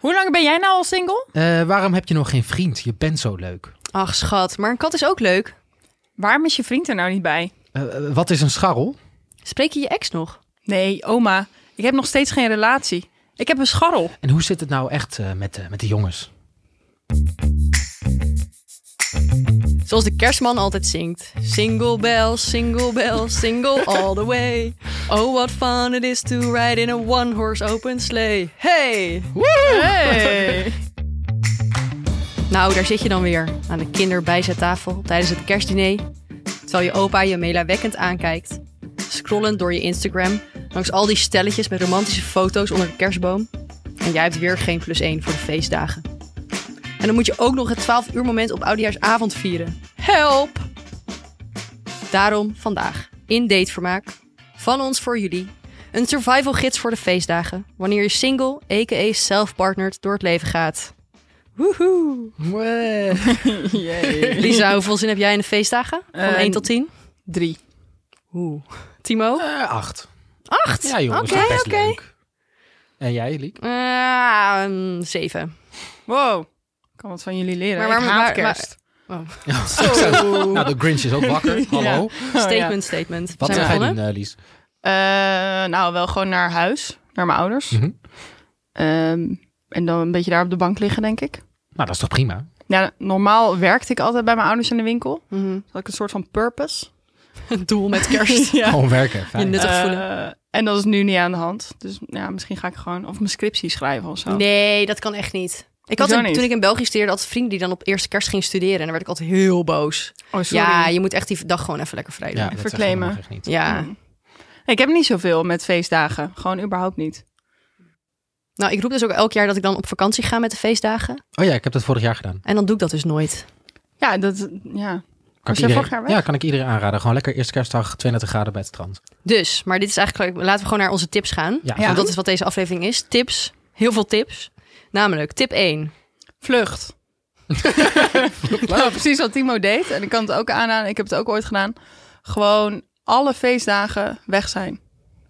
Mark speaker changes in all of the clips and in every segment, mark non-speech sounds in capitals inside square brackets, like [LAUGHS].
Speaker 1: Hoe lang ben jij nou al single?
Speaker 2: Eh, waarom heb je nog geen vriend? Je bent zo leuk.
Speaker 3: Ach schat, maar een kat is ook leuk.
Speaker 1: Waarom is je vriend er nou niet bij?
Speaker 2: Eh, eh, wat is een scharrel?
Speaker 3: Spreek je je ex nog?
Speaker 1: Nee, oma. Ik heb nog steeds geen relatie. Ik heb een scharrel.
Speaker 2: En hoe zit het nou echt eh, met, eh, met de jongens?
Speaker 3: Zoals de kerstman altijd zingt. Single bells, single bells, single all the way. Oh, what fun it is to ride in a one-horse open sleigh. Hey!
Speaker 1: [LAUGHS] Hey.
Speaker 3: Nou, daar zit je dan weer. Aan de kinderbijzettafel tijdens het kerstdiner. Terwijl je opa je meelawekkend aankijkt. Scrollend door je Instagram. Langs al die stelletjes met romantische foto's onder de kerstboom. En jij hebt weer geen plus één voor de feestdagen. En dan moet je ook nog het 12 uur moment op oudejaarsavond vieren. Help! Daarom vandaag in Datevermaak van ons voor jullie een survival gids voor de feestdagen wanneer je single, a.k.a. self-partnered, door het leven gaat. Woehoe!
Speaker 1: Jee.
Speaker 3: Lisa, hoeveel zin heb jij in de feestdagen? Van
Speaker 1: Eh,
Speaker 3: 1 tot 10?
Speaker 1: Drie.
Speaker 3: Oeh. Timo?
Speaker 2: Eh, acht.
Speaker 3: Acht?
Speaker 2: Ja jongens,
Speaker 3: Oké,
Speaker 2: best
Speaker 3: oké.
Speaker 2: leuk. En jij,
Speaker 3: [LAUGHS]
Speaker 2: Liek?
Speaker 3: Eh, ehm, zeven.
Speaker 1: Wow. Ik kan wat van jullie leren.
Speaker 3: Maar
Speaker 1: Maar, ik haat
Speaker 3: waar-
Speaker 1: [LAUGHS]
Speaker 3: waar-
Speaker 1: kerst.
Speaker 2: Oh, [LAUGHS] nou, de Grinch is ook wakker. Hallo.
Speaker 1: Oh,
Speaker 3: Statement, statement.
Speaker 2: Wat
Speaker 3: Zijn we
Speaker 2: ga je
Speaker 3: begonnen?
Speaker 2: doen, eh, Lies?
Speaker 1: Eh, nou, wel gewoon naar huis. Naar mijn ouders.
Speaker 2: Mhm.
Speaker 1: Ehm, en dan een beetje daar op de bank liggen, denk ik.
Speaker 2: Nou, dat is toch prima?
Speaker 1: Ja, normaal werkte ik altijd bij mijn ouders in de winkel. Dan
Speaker 3: Mhm.
Speaker 1: had ik een soort van purpose.
Speaker 3: Een doel met [LAUGHS]
Speaker 1: [LAUGHS]
Speaker 3: kerst.
Speaker 1: Ja.
Speaker 2: Gewoon werken. Fijn.
Speaker 3: Je nuttig
Speaker 1: Eh,
Speaker 3: voelen.
Speaker 1: en dat is nu niet aan de hand. Dus ja, misschien ga ik gewoon... Of mijn scriptie schrijven of zo.
Speaker 3: Nee, dat kan echt niet. Ik had
Speaker 1: Oh. Hoezo
Speaker 3: een-
Speaker 1: niet?
Speaker 3: toen ik in België studeerde, had vrienden die dan op eerste kerst gingen studeren. En dan werd ik altijd heel boos.
Speaker 1: Oh, sorry.
Speaker 3: Ja, je moet echt die dag gewoon even lekker vrij doen.
Speaker 2: Ja,
Speaker 3: Ja.
Speaker 2: dat
Speaker 1: verklemen.
Speaker 2: zeg je nog echt niet.
Speaker 1: Mm. Ik heb niet zoveel met feestdagen. Gewoon überhaupt niet.
Speaker 3: Nou, ik roep dus ook elk jaar dat ik dan op vakantie ga met de feestdagen.
Speaker 2: Oh ja, ik heb dat vorig jaar gedaan.
Speaker 3: En dan doe ik dat dus nooit.
Speaker 1: Ja, dat... Ja.
Speaker 2: Kan
Speaker 1: Was
Speaker 2: ik
Speaker 1: jij
Speaker 2: iedereen-
Speaker 1: vorig jaar weg?
Speaker 2: ja, kan ik iedereen aanraden. Gewoon lekker eerste kerstdag, 32 graden bij het strand.
Speaker 3: Dus, maar dit is eigenlijk... Laten we gewoon naar onze tips gaan.
Speaker 2: Ja, [LAUGHS]
Speaker 1: Ja.
Speaker 3: Want dat is wat deze aflevering is. Tips. Heel veel tips. Namelijk, tip 1.
Speaker 1: [LAUGHS] Vlucht. Nou, precies wat Timo deed. En ik kan het ook aanraden. Ik heb het ook ooit gedaan. Gewoon alle feestdagen weg zijn.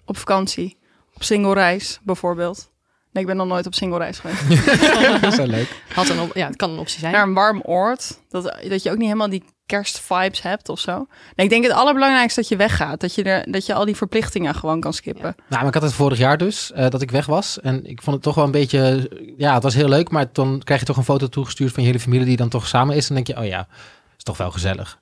Speaker 1: Op vakantie. Op single reis bijvoorbeeld. Nee, ik ben nog nooit op single reis geweest.
Speaker 2: dat is wel leuk.
Speaker 3: Had een op- ja, het kan een optie zijn.
Speaker 1: Naar een warm oord. Dat, dat je ook niet helemaal die kerstvibes hebt of zo. Nee, ik denk het allerbelangrijkste dat je weggaat. Dat je, er, dat je al die verplichtingen gewoon kan skippen.
Speaker 2: Nou, maar ik had het vorig jaar dus, eh, dat ik weg was. En ik vond het toch wel een beetje... Ja, het was heel leuk, maar dan krijg je toch een foto toegestuurd van je hele familie die dan toch samen is. En dan denk je, oh ja, is toch wel gezellig.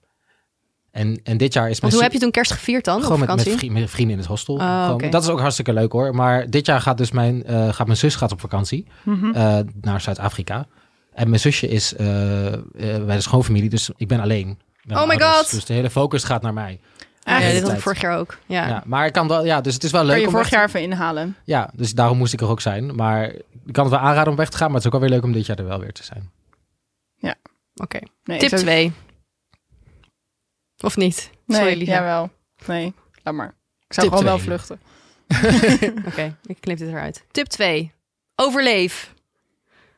Speaker 2: En, en dit jaar is mijn...
Speaker 3: Want hoe
Speaker 2: si-
Speaker 3: heb je toen kerst gevierd dan?
Speaker 2: Gewoon
Speaker 3: op
Speaker 2: met, met,
Speaker 3: vakantie?
Speaker 2: vri- met vrienden in het hostel.
Speaker 3: Ah,
Speaker 2: Gewoon-
Speaker 3: oké.
Speaker 2: Dat is ook hartstikke leuk hoor. Maar dit jaar gaat dus mijn, eh, gaat mijn zus gaat op vakantie
Speaker 1: Mhm.
Speaker 3: Hm.
Speaker 2: eh, naar Zuid-Afrika. En mijn zusje is eh, eh, bij de schoonfamilie, dus ik ben alleen. met
Speaker 3: Oh
Speaker 2: mijn
Speaker 3: my
Speaker 2: ouders.
Speaker 3: god.
Speaker 2: Dus de hele focus gaat naar mij.
Speaker 3: Ah, Ja,
Speaker 2: Echt?
Speaker 3: dit had ik
Speaker 2: Tijd.
Speaker 3: vorig jaar ook. Ja.
Speaker 2: Ja. maar ik kan wel, ja, dus het is wel leuk.
Speaker 1: Kun je
Speaker 2: om
Speaker 1: vorig
Speaker 2: weg
Speaker 1: jaar even inhalen.
Speaker 2: te- Ja, dus daarom moest ik er ook zijn. Maar ik kan het wel aanraden om weg te gaan, maar het is ook wel weer leuk om dit jaar er wel weer te zijn.
Speaker 3: Oké.
Speaker 1: Nee,
Speaker 3: Tip
Speaker 1: zo-
Speaker 3: 2. Of niet?
Speaker 1: Nee,
Speaker 3: Sorry, Lisa.
Speaker 1: jawel. Nee, laat maar. Ik zou
Speaker 2: Tip
Speaker 1: gewoon wel
Speaker 2: twee.
Speaker 1: vluchten.
Speaker 3: Oké, ik knip dit eruit. Tip 2. Overleef.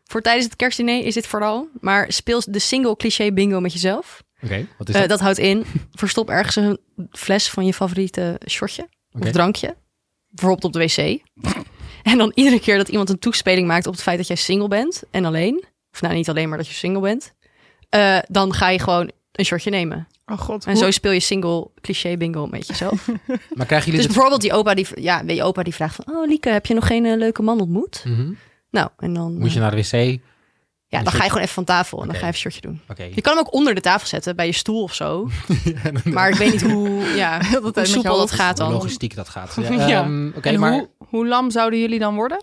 Speaker 3: Voor tijdens het kerstdiner is dit vooral. Maar speel de single cliché bingo met jezelf.
Speaker 2: Oké, wat is Dus
Speaker 3: Eh,
Speaker 2: dat?
Speaker 3: dat houdt in, verstop ergens een fles van je favoriete shotje.
Speaker 2: Oké.
Speaker 3: of drankje. Bijvoorbeeld op de wc. en dan iedere keer dat iemand een toespeling maakt op het feit dat jij single bent en alleen. Of nou, niet alleen, maar dat je single bent. eh, dan ga je gewoon een shotje nemen.
Speaker 1: Oh god.
Speaker 3: En zo speel je single cliché bingo
Speaker 2: [LAUGHS]
Speaker 3: met jezelf.
Speaker 2: Maar krijgen
Speaker 3: dus
Speaker 2: jullie dit...
Speaker 3: bijvoorbeeld die opa die, ja, weet je opa die vraagt van... Oh, Lieke, heb je nog geen eh, leuke man ontmoet?
Speaker 2: Mhm.
Speaker 3: Nou, en dan,
Speaker 2: Moet je
Speaker 3: eh,
Speaker 2: naar de wc?
Speaker 3: ja, dan ga je gewoon even van tafel en dan
Speaker 2: Oké.
Speaker 3: ga je even een shotje doen.
Speaker 2: Oké.
Speaker 3: Je kan hem ook onder de tafel zetten, bij je stoel of zo. maar [LAUGHS] ik weet niet hoe, [LAUGHS] ja,
Speaker 1: met
Speaker 3: hoe
Speaker 1: je
Speaker 3: soepel dat
Speaker 1: hoofd.
Speaker 3: gaat
Speaker 2: Hoe
Speaker 3: dan.
Speaker 2: logistiek dat gaat. Ja,
Speaker 3: [LAUGHS]
Speaker 1: Ja.
Speaker 2: ehm, Oké,
Speaker 1: en
Speaker 2: maar...
Speaker 1: hoe, hoe lam zouden jullie dan worden?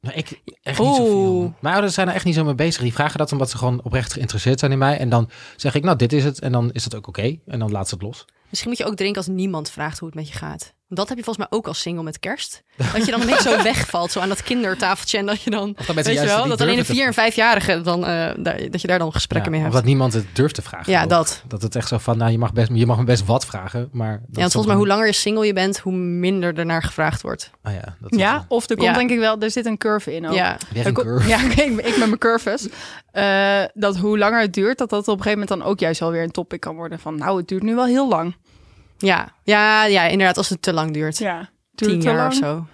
Speaker 2: Nou, ik echt
Speaker 3: Oeh.
Speaker 2: niet zoveel. Mijn ouders zijn er echt niet zo mee bezig. Die vragen dat omdat ze gewoon oprecht geïnteresseerd zijn in mij. En dan zeg ik, nou, dit is het. En dan is dat ook oké. En dan laat ze het los.
Speaker 3: Misschien moet je ook drinken als niemand vraagt hoe het met je gaat. Dat heb je volgens mij ook als single met kerst. Dat je dan ineens [LAUGHS] zo wegvalt, zo aan dat kindertafeltje. En dat je dan,
Speaker 2: Of dat mensen
Speaker 3: weet je
Speaker 2: juist
Speaker 3: wel,
Speaker 2: niet
Speaker 3: dat alleen de
Speaker 2: durven te-
Speaker 3: vier- en vijfjarigen, dan, eh, daar, dat je daar dan gesprekken
Speaker 2: Ja,
Speaker 3: mee
Speaker 2: of
Speaker 3: hebt.
Speaker 2: dat niemand het durft te vragen.
Speaker 3: Ja,
Speaker 2: ook.
Speaker 3: dat.
Speaker 2: Dat het echt zo van, nou, je mag, best, je mag me best wat vragen. Maar dat
Speaker 3: Ja, want
Speaker 2: is
Speaker 3: volgens mij
Speaker 2: dan-
Speaker 3: hoe langer je single je bent, hoe minder ernaar gevraagd wordt.
Speaker 2: Ah ja, dat is
Speaker 1: Ja, of er komt
Speaker 3: Ja.
Speaker 1: denk ik wel, er zit een curve in ook.
Speaker 3: Ja.
Speaker 2: Weer
Speaker 1: Er
Speaker 2: een
Speaker 1: ko- [LAUGHS]
Speaker 2: curve.
Speaker 1: Ja, oké, ik, ik met mijn curves. Eh, dat hoe langer het duurt, dat dat op een gegeven moment dan ook juist wel weer een topic kan worden. Van nou, het duurt nu wel heel lang.
Speaker 3: Ja. Ja, ja, inderdaad, als het te lang duurt.
Speaker 1: Ja,
Speaker 3: [LAUGHS] Tien jaar of zo.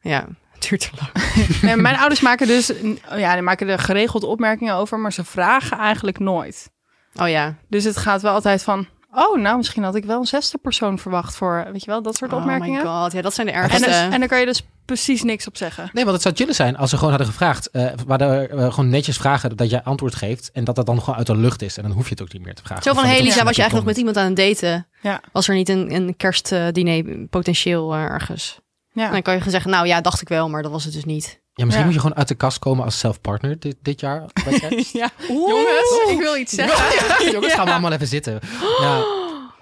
Speaker 3: Ja. duurt te lang.
Speaker 1: Nee, mijn [LAUGHS] ouders maken dus, ja, die maken er geregeld opmerkingen over, maar ze vragen eigenlijk nooit.
Speaker 3: Oh ja.
Speaker 1: Dus het gaat wel altijd van, oh, nou, misschien had ik wel een zesde persoon verwacht voor, weet je wel, dat soort opmerkingen.
Speaker 3: Oh my god, ja, dat zijn de
Speaker 1: En,
Speaker 3: ergste.
Speaker 1: dus, en daar kan je dus precies niks op zeggen.
Speaker 2: Nee, want het zou chillen zijn als ze gewoon hadden gevraagd. eh waar de, eh, gewoon netjes vragen dat jij antwoord geeft. En dat dat dan gewoon uit de lucht is. En dan hoef je het ook niet meer te vragen.
Speaker 3: Zo van,
Speaker 2: Of
Speaker 3: hey
Speaker 2: het
Speaker 3: Lisa,
Speaker 2: opzoeken
Speaker 3: was je eigenlijk nog met
Speaker 2: komt.
Speaker 3: iemand aan het daten?
Speaker 1: Ja.
Speaker 3: Was er niet een, een kerstdiner potentieel eh, ergens?
Speaker 1: Ja. [LAUGHS]
Speaker 3: En dan kan je gewoon zeggen, nou ja, dacht ik wel, maar dat was het dus niet.
Speaker 2: Ja, misschien
Speaker 1: Ja.
Speaker 2: moet je gewoon uit de kast komen als zelfpartner dit, dit jaar. bij
Speaker 3: [LAUGHS]
Speaker 2: Cats.
Speaker 1: ja. Jongens, ik wil iets [LAUGHS] zeggen.
Speaker 2: Jongens, Oh, gaan we allemaal even zitten. Ja,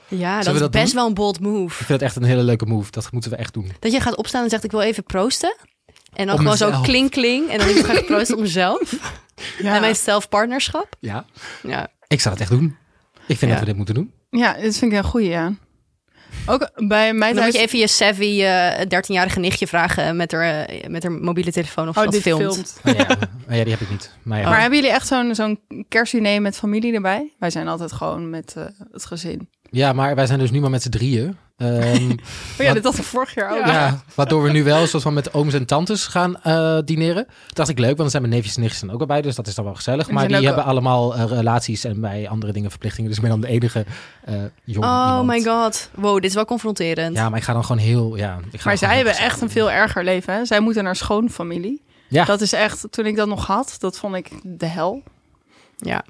Speaker 3: Ja, dat
Speaker 2: we
Speaker 3: is
Speaker 2: dat
Speaker 3: best
Speaker 2: doen?
Speaker 3: wel een bold
Speaker 2: ik
Speaker 3: move.
Speaker 2: vind het echt een hele leuke move. Dat moeten we echt doen.
Speaker 3: Dat je gaat opstaan en zegt, ik wil even proosten. En dan
Speaker 2: Op
Speaker 3: gewoon zo
Speaker 2: mezelf.
Speaker 3: kling kling. En dan ik ga ik proosten op mezelf.
Speaker 1: Ja.
Speaker 3: En mijn zelfpartnerschap.
Speaker 2: Ja.
Speaker 3: Ja.
Speaker 2: Ik zou het echt doen. Ik vind
Speaker 3: Ja.
Speaker 2: dat we dit moeten doen.
Speaker 1: Ja, dit vind ik een goeie, ja. Ook bij mij
Speaker 3: En dan
Speaker 1: thuis...
Speaker 3: moet je even je savvy eh 13-jarige nichtje vragen met haar, eh, met haar mobiele telefoon of ze
Speaker 1: oh,
Speaker 3: dat
Speaker 1: dit
Speaker 3: filmt.
Speaker 1: filmt.
Speaker 2: Maar ja, maar Oh, ja, die heb ik niet. Maar ja.
Speaker 1: Maar hebben jullie echt zo'n zo'n kerstdiner met familie erbij? Wij zijn altijd gewoon met eh, het gezin.
Speaker 2: ja, maar wij zijn dus nu maar met z'n drieën. Ehm,
Speaker 1: Oh ja,
Speaker 2: Wat-
Speaker 1: dat had ik vorig jaar ook.
Speaker 2: ja. waardoor we nu wel een soort van met ooms en tantes gaan eh, dineren. Dat dacht ik leuk, want dan zijn mijn neefjes en nichtjes dan ook al bij. Dus dat is dan wel gezellig.
Speaker 1: En
Speaker 2: Maar
Speaker 1: zijn
Speaker 2: die
Speaker 1: ook-
Speaker 2: hebben allemaal eh, relaties en bij andere dingen verplichtingen. Dus ik ben dan de enige eh jong
Speaker 3: Oh
Speaker 2: iemand.
Speaker 3: my god. Wow, dit is wel confronterend.
Speaker 2: Ja, maar ik ga dan gewoon heel... Ja, ik ga
Speaker 1: Maar
Speaker 2: dan gewoon
Speaker 1: zij hebben
Speaker 2: gezellig
Speaker 1: echt een
Speaker 2: doen.
Speaker 1: veel erger leven. Hè? Zij moeten naar schoonfamilie.
Speaker 2: Ja.
Speaker 1: Dat is echt, toen ik dat nog had, dat vond ik de hel.
Speaker 3: Ja.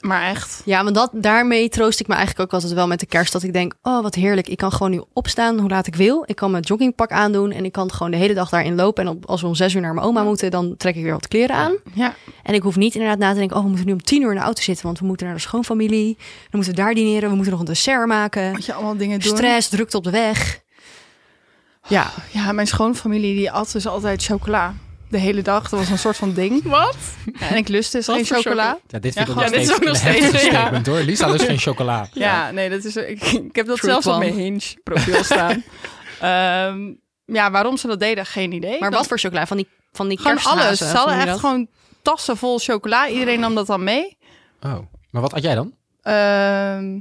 Speaker 1: Maar echt.
Speaker 3: Ja, want dat, daarmee troost ik me eigenlijk ook altijd wel met de kerst. Dat ik denk, oh wat heerlijk. Ik kan gewoon nu opstaan hoe laat ik wil. Ik kan mijn joggingpak aandoen en ik kan gewoon de hele dag daarin lopen. En op- als we om zes uur naar mijn oma moeten, dan trek ik weer wat kleren aan.
Speaker 1: Ja.
Speaker 3: En ik hoef niet inderdaad na te denken, oh we moeten nu om tien uur in de auto zitten. Want we moeten naar de schoonfamilie. Dan moeten we daar dineren. We moeten nog een dessert maken.
Speaker 1: Moet je allemaal dingen doen.
Speaker 3: Stress, drukte op de weg. Ja,
Speaker 1: Ja, mijn schoonfamilie die at dus altijd chocola. De hele dag. Dat was een soort van ding. Wat? en ik lust dus
Speaker 3: Wat
Speaker 1: geen
Speaker 3: voor
Speaker 1: chocola.
Speaker 2: Ja, dit
Speaker 1: Ja,
Speaker 2: vind ik ook
Speaker 1: ja,
Speaker 2: nog
Speaker 1: dit is
Speaker 2: steeds
Speaker 1: ook nog
Speaker 2: een heftig
Speaker 1: steeds, [LAUGHS] ja.
Speaker 2: statement hoor. Lisa lust geen chocola.
Speaker 1: Ja, nee, dat is, ik, ik heb dat
Speaker 3: True
Speaker 1: zelfs op
Speaker 3: plan.
Speaker 1: mijn Hinge-profiel
Speaker 3: [LAUGHS]
Speaker 1: staan. Ehm, ja, waarom ze dat deden, geen idee.
Speaker 3: maar
Speaker 1: Dat-
Speaker 3: wat voor chocola? Van die, van die
Speaker 1: Gewoon alles.
Speaker 3: kersthazen,
Speaker 1: Ze hadden
Speaker 3: noem je
Speaker 1: echt
Speaker 3: dat?
Speaker 1: gewoon tassen vol chocola. Iedereen nam dat dan mee.
Speaker 2: Oh, maar wat had jij dan?
Speaker 1: Ehm,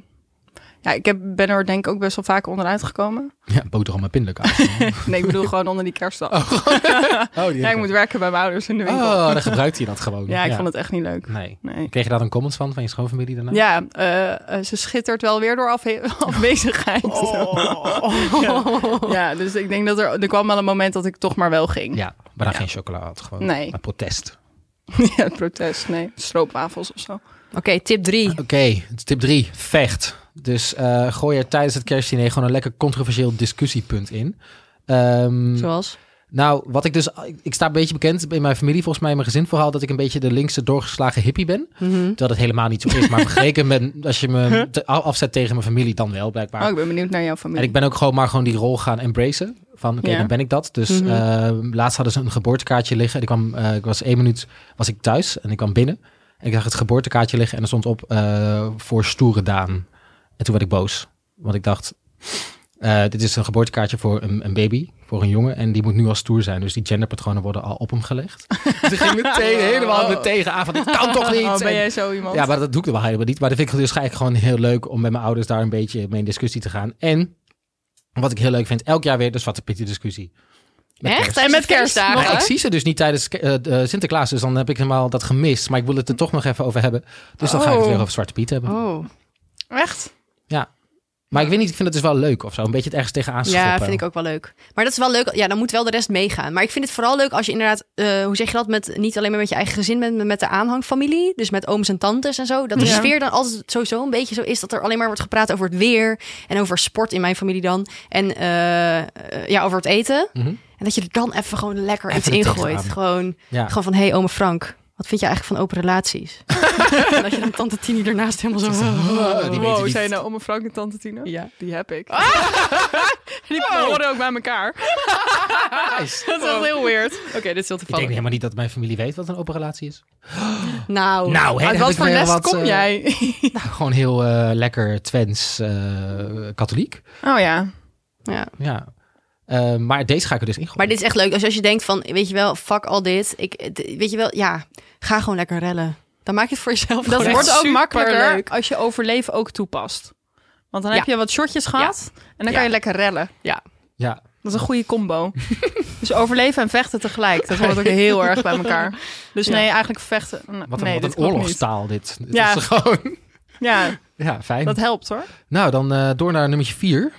Speaker 1: ja, ik heb, ben er denk ik ook best wel vaak onderuit gekomen.
Speaker 2: Ja, boterham en
Speaker 1: [LAUGHS]
Speaker 2: pindakaas.
Speaker 1: Nee, ik
Speaker 3: [LAUGHS]
Speaker 1: bedoel gewoon onder die kerstdag.
Speaker 2: Oh, die
Speaker 1: ja, ik moet werken bij mijn ouders in de winkel.
Speaker 2: Oh, dan gebruikt hij dat gewoon.
Speaker 1: ja, ik vond het echt niet leuk.
Speaker 2: Nee.
Speaker 1: Nee.
Speaker 2: Kreeg je daar dan comments van, van je schoonfamilie daarna?
Speaker 1: Ja, eh, eh, ze schittert wel weer door afhe- [LAUGHS] afwezigheid. [LAUGHS] Ja. ja, dus ik denk dat er, er kwam wel een moment dat ik toch maar wel ging.
Speaker 2: Ja, maar dan
Speaker 1: Ja.
Speaker 2: geen chocola had, gewoon
Speaker 1: Nee.
Speaker 2: uit protest.
Speaker 1: [LAUGHS] Ja, het protest, nee. Stroopwafels of zo.
Speaker 3: Oké, tip drie.
Speaker 2: Oké, tip 3, vecht. Dus eh, gooi er tijdens het kerstdiner gewoon een lekker controversieel discussiepunt in. Ehm,
Speaker 3: Zoals?
Speaker 2: nou, wat ik dus, ik sta een beetje bekend in mijn familie, volgens mij in mijn gezin vooral, dat ik een beetje de linkse doorgeslagen hippie ben.
Speaker 3: Mhm.
Speaker 2: Dat het helemaal niet zo is, maar vergeleken met als je me te- afzet tegen mijn familie, dan wel blijkbaar.
Speaker 1: Oh, ik ben benieuwd naar jouw familie.
Speaker 2: En ik ben ook gewoon maar gewoon die rol gaan embracen. Van oké,
Speaker 1: Ja.
Speaker 2: dan ben ik dat. Dus
Speaker 3: Mhm.
Speaker 2: eh, laatst hadden ze een geboortekaartje liggen. En ik, kwam, eh, ik was één minuut was ik thuis en ik kwam binnen. En ik zag het geboortekaartje liggen en er stond op eh, voor stoere Daan. En toen werd ik boos. Want ik dacht, eh, dit is een geboortekaartje voor een, een baby, voor een jongen. En die moet nu al stoer zijn. Dus die genderpatronen worden al op hem
Speaker 1: [LAUGHS]
Speaker 2: gelegd. Ze ging meteen helemaal
Speaker 1: Oh.
Speaker 2: meteen tegenaan van, dit kan toch niet?
Speaker 1: Oh,
Speaker 2: En-
Speaker 1: ben jij zo iemand?
Speaker 2: ja, maar dat doe ik er wel helemaal niet. Maar dat vind ik dus eigenlijk gewoon heel leuk om met mijn ouders daar een beetje mee in discussie te gaan. En wat ik heel leuk vind, elk jaar weer de Zwarte Pietje discussie. Met
Speaker 3: Echt?
Speaker 2: kerst.
Speaker 3: En met kerstdagen?
Speaker 2: Maar ik zie ze dus niet tijdens eh, eh, Sinterklaas, dus dan heb ik helemaal dat gemist. Maar ik wil het er toch nog even over hebben. Dus dan ga ik het
Speaker 1: Oh.
Speaker 2: weer over Zwarte Piet hebben.
Speaker 3: Oh.
Speaker 1: Echt?
Speaker 2: Maar ik weet niet, ik vind het dus wel leuk of zo. Een beetje het ergens tegenaan schoppen.
Speaker 3: Ja, vind ik ook wel leuk. Maar dat is wel leuk. Ja, dan moet wel de rest meegaan. Maar ik vind het vooral leuk als je inderdaad, eh, hoe zeg je dat, met, niet alleen maar met je eigen gezin bent, maar met de aanhangfamilie. Dus met ooms en tantes en zo. Dat de
Speaker 1: Ja.
Speaker 3: sfeer dan altijd sowieso een beetje zo is dat er alleen maar wordt gepraat over het weer en over sport in mijn familie dan. En eh, eh, ja, over het eten.
Speaker 2: Mhm.
Speaker 3: En dat je er dan even gewoon lekker
Speaker 2: Even
Speaker 3: iets
Speaker 2: er
Speaker 3: ingooit.
Speaker 2: tegenaan.
Speaker 3: Gewoon,
Speaker 2: Ja.
Speaker 3: gewoon van, hé hey, ome Frank, wat vind je eigenlijk van open
Speaker 2: [LAUGHS]
Speaker 3: relaties? en dat je dan tante Tini ernaast helemaal zo...
Speaker 2: Oh, die Oh. weten
Speaker 1: wow,
Speaker 2: niet.
Speaker 1: zijn nou oma Frank en tante Tine?
Speaker 3: Ja.
Speaker 1: Die heb ik. die horen ook bij elkaar.
Speaker 2: Nice.
Speaker 1: [LAUGHS] Dat is echt heel weird. Oké, dit is heel
Speaker 2: Ik denk
Speaker 1: toevallig.
Speaker 2: helemaal niet dat mijn familie weet wat een open relatie is. [LAUGHS]
Speaker 3: Nou,
Speaker 2: Nou, hè,
Speaker 1: Uit
Speaker 2: dan heb
Speaker 1: wat
Speaker 2: ik
Speaker 1: voor
Speaker 2: weer
Speaker 1: les
Speaker 2: wat,
Speaker 1: kom
Speaker 2: eh,
Speaker 1: jij?
Speaker 2: [LAUGHS] Nou, gewoon heel eh, lekker Twents eh, katholiek.
Speaker 1: Oh ja.
Speaker 3: ja.
Speaker 2: Ja. Eh, maar deze ga ik er dus in gooien.
Speaker 3: Maar dit is echt leuk. Dus als je denkt van, weet je wel, fuck al dit. Ik, d- weet je wel, ja, ga gewoon lekker rellen. Dan maak je het voor jezelf.
Speaker 1: Dat
Speaker 3: gewoon
Speaker 1: wordt
Speaker 3: echt
Speaker 1: ook
Speaker 3: super
Speaker 1: makkelijker
Speaker 3: leuk.
Speaker 1: als je overleven ook toepast. Want dan
Speaker 3: Ja.
Speaker 1: heb je wat shotjes gehad en dan
Speaker 3: Ja.
Speaker 1: kan je lekker rellen.
Speaker 2: Ja.
Speaker 1: Dat is een goede combo. [LAUGHS] Dus overleven en vechten tegelijk. Dat hoort ook heel erg bij elkaar. Dus nee, eigenlijk vechten. n-
Speaker 2: Wat een,
Speaker 1: nee,
Speaker 2: wat
Speaker 1: dit
Speaker 2: een
Speaker 1: klopt
Speaker 2: oorlogstaal dit. dit
Speaker 1: Ja.
Speaker 2: is
Speaker 1: [LAUGHS]
Speaker 2: gewoon...
Speaker 1: niet. Ja,
Speaker 2: Ja, fijn.
Speaker 1: dat helpt hoor.
Speaker 2: Nou, dan eh, door naar nummertje vier.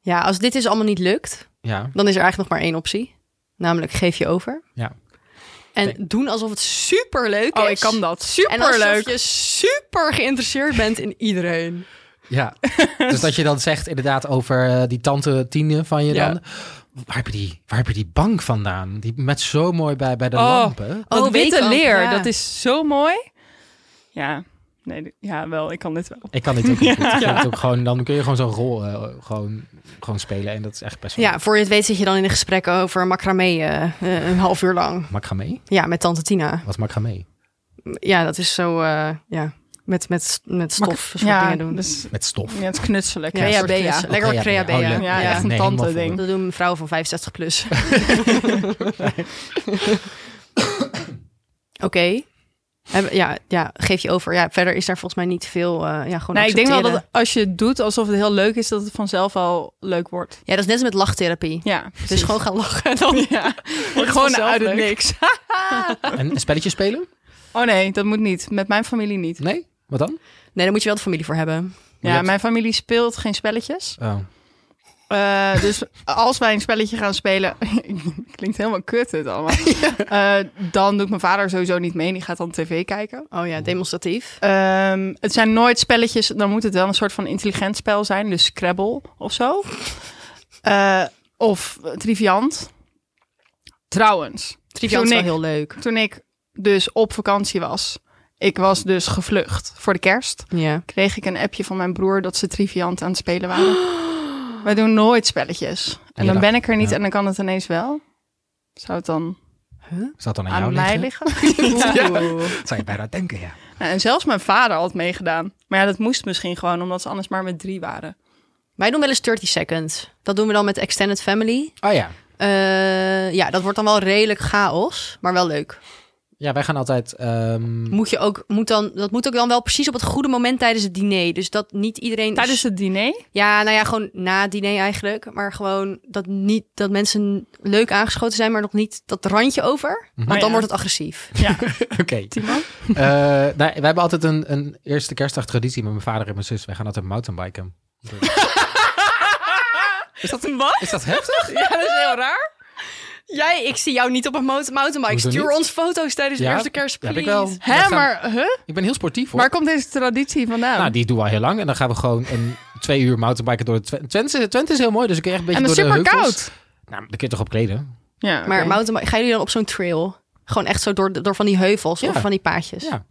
Speaker 3: Ja, als dit dus allemaal niet lukt,
Speaker 2: Ja,
Speaker 3: dan is er eigenlijk nog maar één optie. Namelijk geef je over.
Speaker 2: Ja.
Speaker 3: En
Speaker 2: Denk-
Speaker 3: doen alsof het superleuk is.
Speaker 1: Oh, ik kan dat.
Speaker 3: En alsof
Speaker 1: Superleuk.
Speaker 3: je super geïnteresseerd bent in iedereen.
Speaker 2: ja.
Speaker 1: [LAUGHS]
Speaker 2: dus dat je dan zegt inderdaad over eh, die tante Tine van je
Speaker 1: Ja.
Speaker 2: dan. Waar heb je, die, waar heb je die bank vandaan? Die met zo mooi bij, bij de
Speaker 1: Oh.
Speaker 2: lampen.
Speaker 1: Dat
Speaker 3: Oh,
Speaker 1: witte
Speaker 3: weekend,
Speaker 1: leer,
Speaker 3: ja.
Speaker 1: dat is zo mooi. Ja, nee, d- ja, wel, ik kan dit wel.
Speaker 2: Ik kan dit
Speaker 1: [LAUGHS]
Speaker 2: ook niet goed. Ik vind het ook gewoon, dan kun je gewoon zo'n rol eh, gewoon, gewoon spelen. En dat is echt best wel...
Speaker 3: Ja, voor je het weet zit je dan in een gesprek over macramé eh, eh, een half uur lang.
Speaker 2: Macramé?
Speaker 3: Ja, met tante Tina.
Speaker 2: Wat is macramé?
Speaker 3: Ja, dat is zo, eh, ja, met, met, met stof, soort
Speaker 1: ja,
Speaker 3: dingen doen.
Speaker 1: Dus,
Speaker 2: Met stof.
Speaker 1: ja, het is knutselen.
Speaker 3: Ja,
Speaker 1: Ja,
Speaker 3: soort
Speaker 1: ja,
Speaker 3: knutselen. Lekker wat
Speaker 2: Oké, ja,
Speaker 3: crea
Speaker 2: ja,
Speaker 3: bea.
Speaker 2: oh, leuk.
Speaker 1: Ja, echt een
Speaker 2: helemaal
Speaker 1: tante-ding.
Speaker 2: voor.
Speaker 3: Dat doen vrouwen van 65 plus. Oké. Heb- Ja, ja, geef je over. Ja, verder is daar volgens mij niet veel. eh, ja, gewoon
Speaker 1: Nee, ik denk wel dat
Speaker 3: accepteren.
Speaker 1: als je het doet alsof het heel leuk is, dat het vanzelf al leuk wordt.
Speaker 3: Ja, dat is net als met lachtherapie.
Speaker 1: Ja,
Speaker 3: Dus gewoon gaan lachen. [LAUGHS] Dan
Speaker 1: Ja, gewoon
Speaker 3: vanzelf
Speaker 1: uit het
Speaker 3: leuk.
Speaker 1: niks.
Speaker 2: En een spelletje spelen?
Speaker 1: Oh nee, dat moet niet. Met mijn familie niet.
Speaker 2: Nee? Wat dan?
Speaker 3: Nee, daar moet je wel de familie voor hebben.
Speaker 1: Ja,
Speaker 2: dat-
Speaker 1: mijn familie speelt geen spelletjes.
Speaker 2: Oh.
Speaker 1: Eh,
Speaker 3: [LAUGHS]
Speaker 1: dus als wij een spelletje gaan spelen, [LAUGHS] klinkt helemaal kut het
Speaker 3: [LAUGHS]
Speaker 1: allemaal. Eh, dan doet mijn vader sowieso niet mee. Die gaat dan tv kijken.
Speaker 3: Oh ja, demonstratief.
Speaker 1: Ehm, het zijn nooit spelletjes. Dan moet het wel een soort van intelligent spel zijn. Dus Scrabble of zo. Eh, of Triviant. Trouwens,
Speaker 3: Triviaal is
Speaker 1: Toen
Speaker 3: wel
Speaker 1: ik-
Speaker 3: heel leuk.
Speaker 1: toen ik dus op vakantie was. Ik was dus gevlucht voor de kerst.
Speaker 3: Ja.
Speaker 1: kreeg ik een appje van mijn broer dat ze Triviant aan het spelen
Speaker 2: [GASPS]
Speaker 1: waren. Wij doen nooit spelletjes. En
Speaker 2: Ja,
Speaker 1: dan ben ik er niet
Speaker 2: ja.
Speaker 1: en dan kan het ineens wel. Zou het dan
Speaker 2: Is dat dan aan,
Speaker 1: aan
Speaker 2: jou
Speaker 1: mij
Speaker 2: liggen?
Speaker 1: liggen?
Speaker 2: [LAUGHS]
Speaker 3: Oeh.
Speaker 2: Dat zou je bijna denken, ja.
Speaker 1: Nou, en zelfs mijn vader had het meegedaan. Maar ja, dat moest misschien gewoon omdat ze anders maar met drie waren.
Speaker 3: Wij doen wel eens 30 seconds. Dat doen we dan met extended family.
Speaker 2: Oh ja.
Speaker 3: Eh, ja, dat wordt dan wel redelijk chaos, maar wel leuk.
Speaker 2: Ja, wij gaan altijd... ehm,
Speaker 3: Moet je ook, moet dan, dat moet ook dan wel precies op het goede moment tijdens het diner. Dus dat niet iedereen.
Speaker 1: Tijdens het diner?
Speaker 3: Ja, nou ja, gewoon na het diner eigenlijk. Maar gewoon dat, niet, dat mensen leuk aangeschoten zijn, maar nog niet dat randje over. Want
Speaker 1: Oh
Speaker 3: dan
Speaker 1: ja.
Speaker 3: wordt het agressief.
Speaker 1: Ja,
Speaker 2: [LAUGHS] Oké.
Speaker 1: Timo.
Speaker 2: Eh, nou, wij hebben altijd een, een eerste kerstdag traditie met mijn vader en mijn zus. Wij gaan altijd mountainbiken.
Speaker 1: [LAUGHS] Is dat een wat?
Speaker 2: Is dat heftig?
Speaker 1: Ja, dat is heel raar.
Speaker 3: [LAUGHS] Jij, ik zie jou niet op een mot- mountainbike.
Speaker 2: Hoezo
Speaker 3: Stuur
Speaker 2: niet?
Speaker 3: ons foto's tijdens de
Speaker 2: Ja,
Speaker 3: eerste kerst,
Speaker 2: heb
Speaker 3: please.
Speaker 2: ik wel. Wij
Speaker 1: Hè,
Speaker 2: gaan-
Speaker 1: maar huh?
Speaker 2: Ik ben heel sportief hoor.
Speaker 1: waar komt deze traditie vandaan?
Speaker 2: Nou, die doen we al heel lang. En dan gaan we gewoon een twee uur mountainbiken door de Twen- Twente. Twente is heel mooi, dus ik kun je echt een
Speaker 1: en
Speaker 2: beetje
Speaker 1: het is
Speaker 2: door de
Speaker 1: super
Speaker 2: heuvels.
Speaker 1: koud.
Speaker 2: Nou, daar kun je toch op kleden?
Speaker 1: Ja,
Speaker 3: Maar
Speaker 1: oké.
Speaker 3: mountainbike, gaan jullie dan op zo'n trail? Gewoon echt zo door, de- door van die heuvels
Speaker 2: Ja.
Speaker 3: of van die paadjes?
Speaker 2: Ja.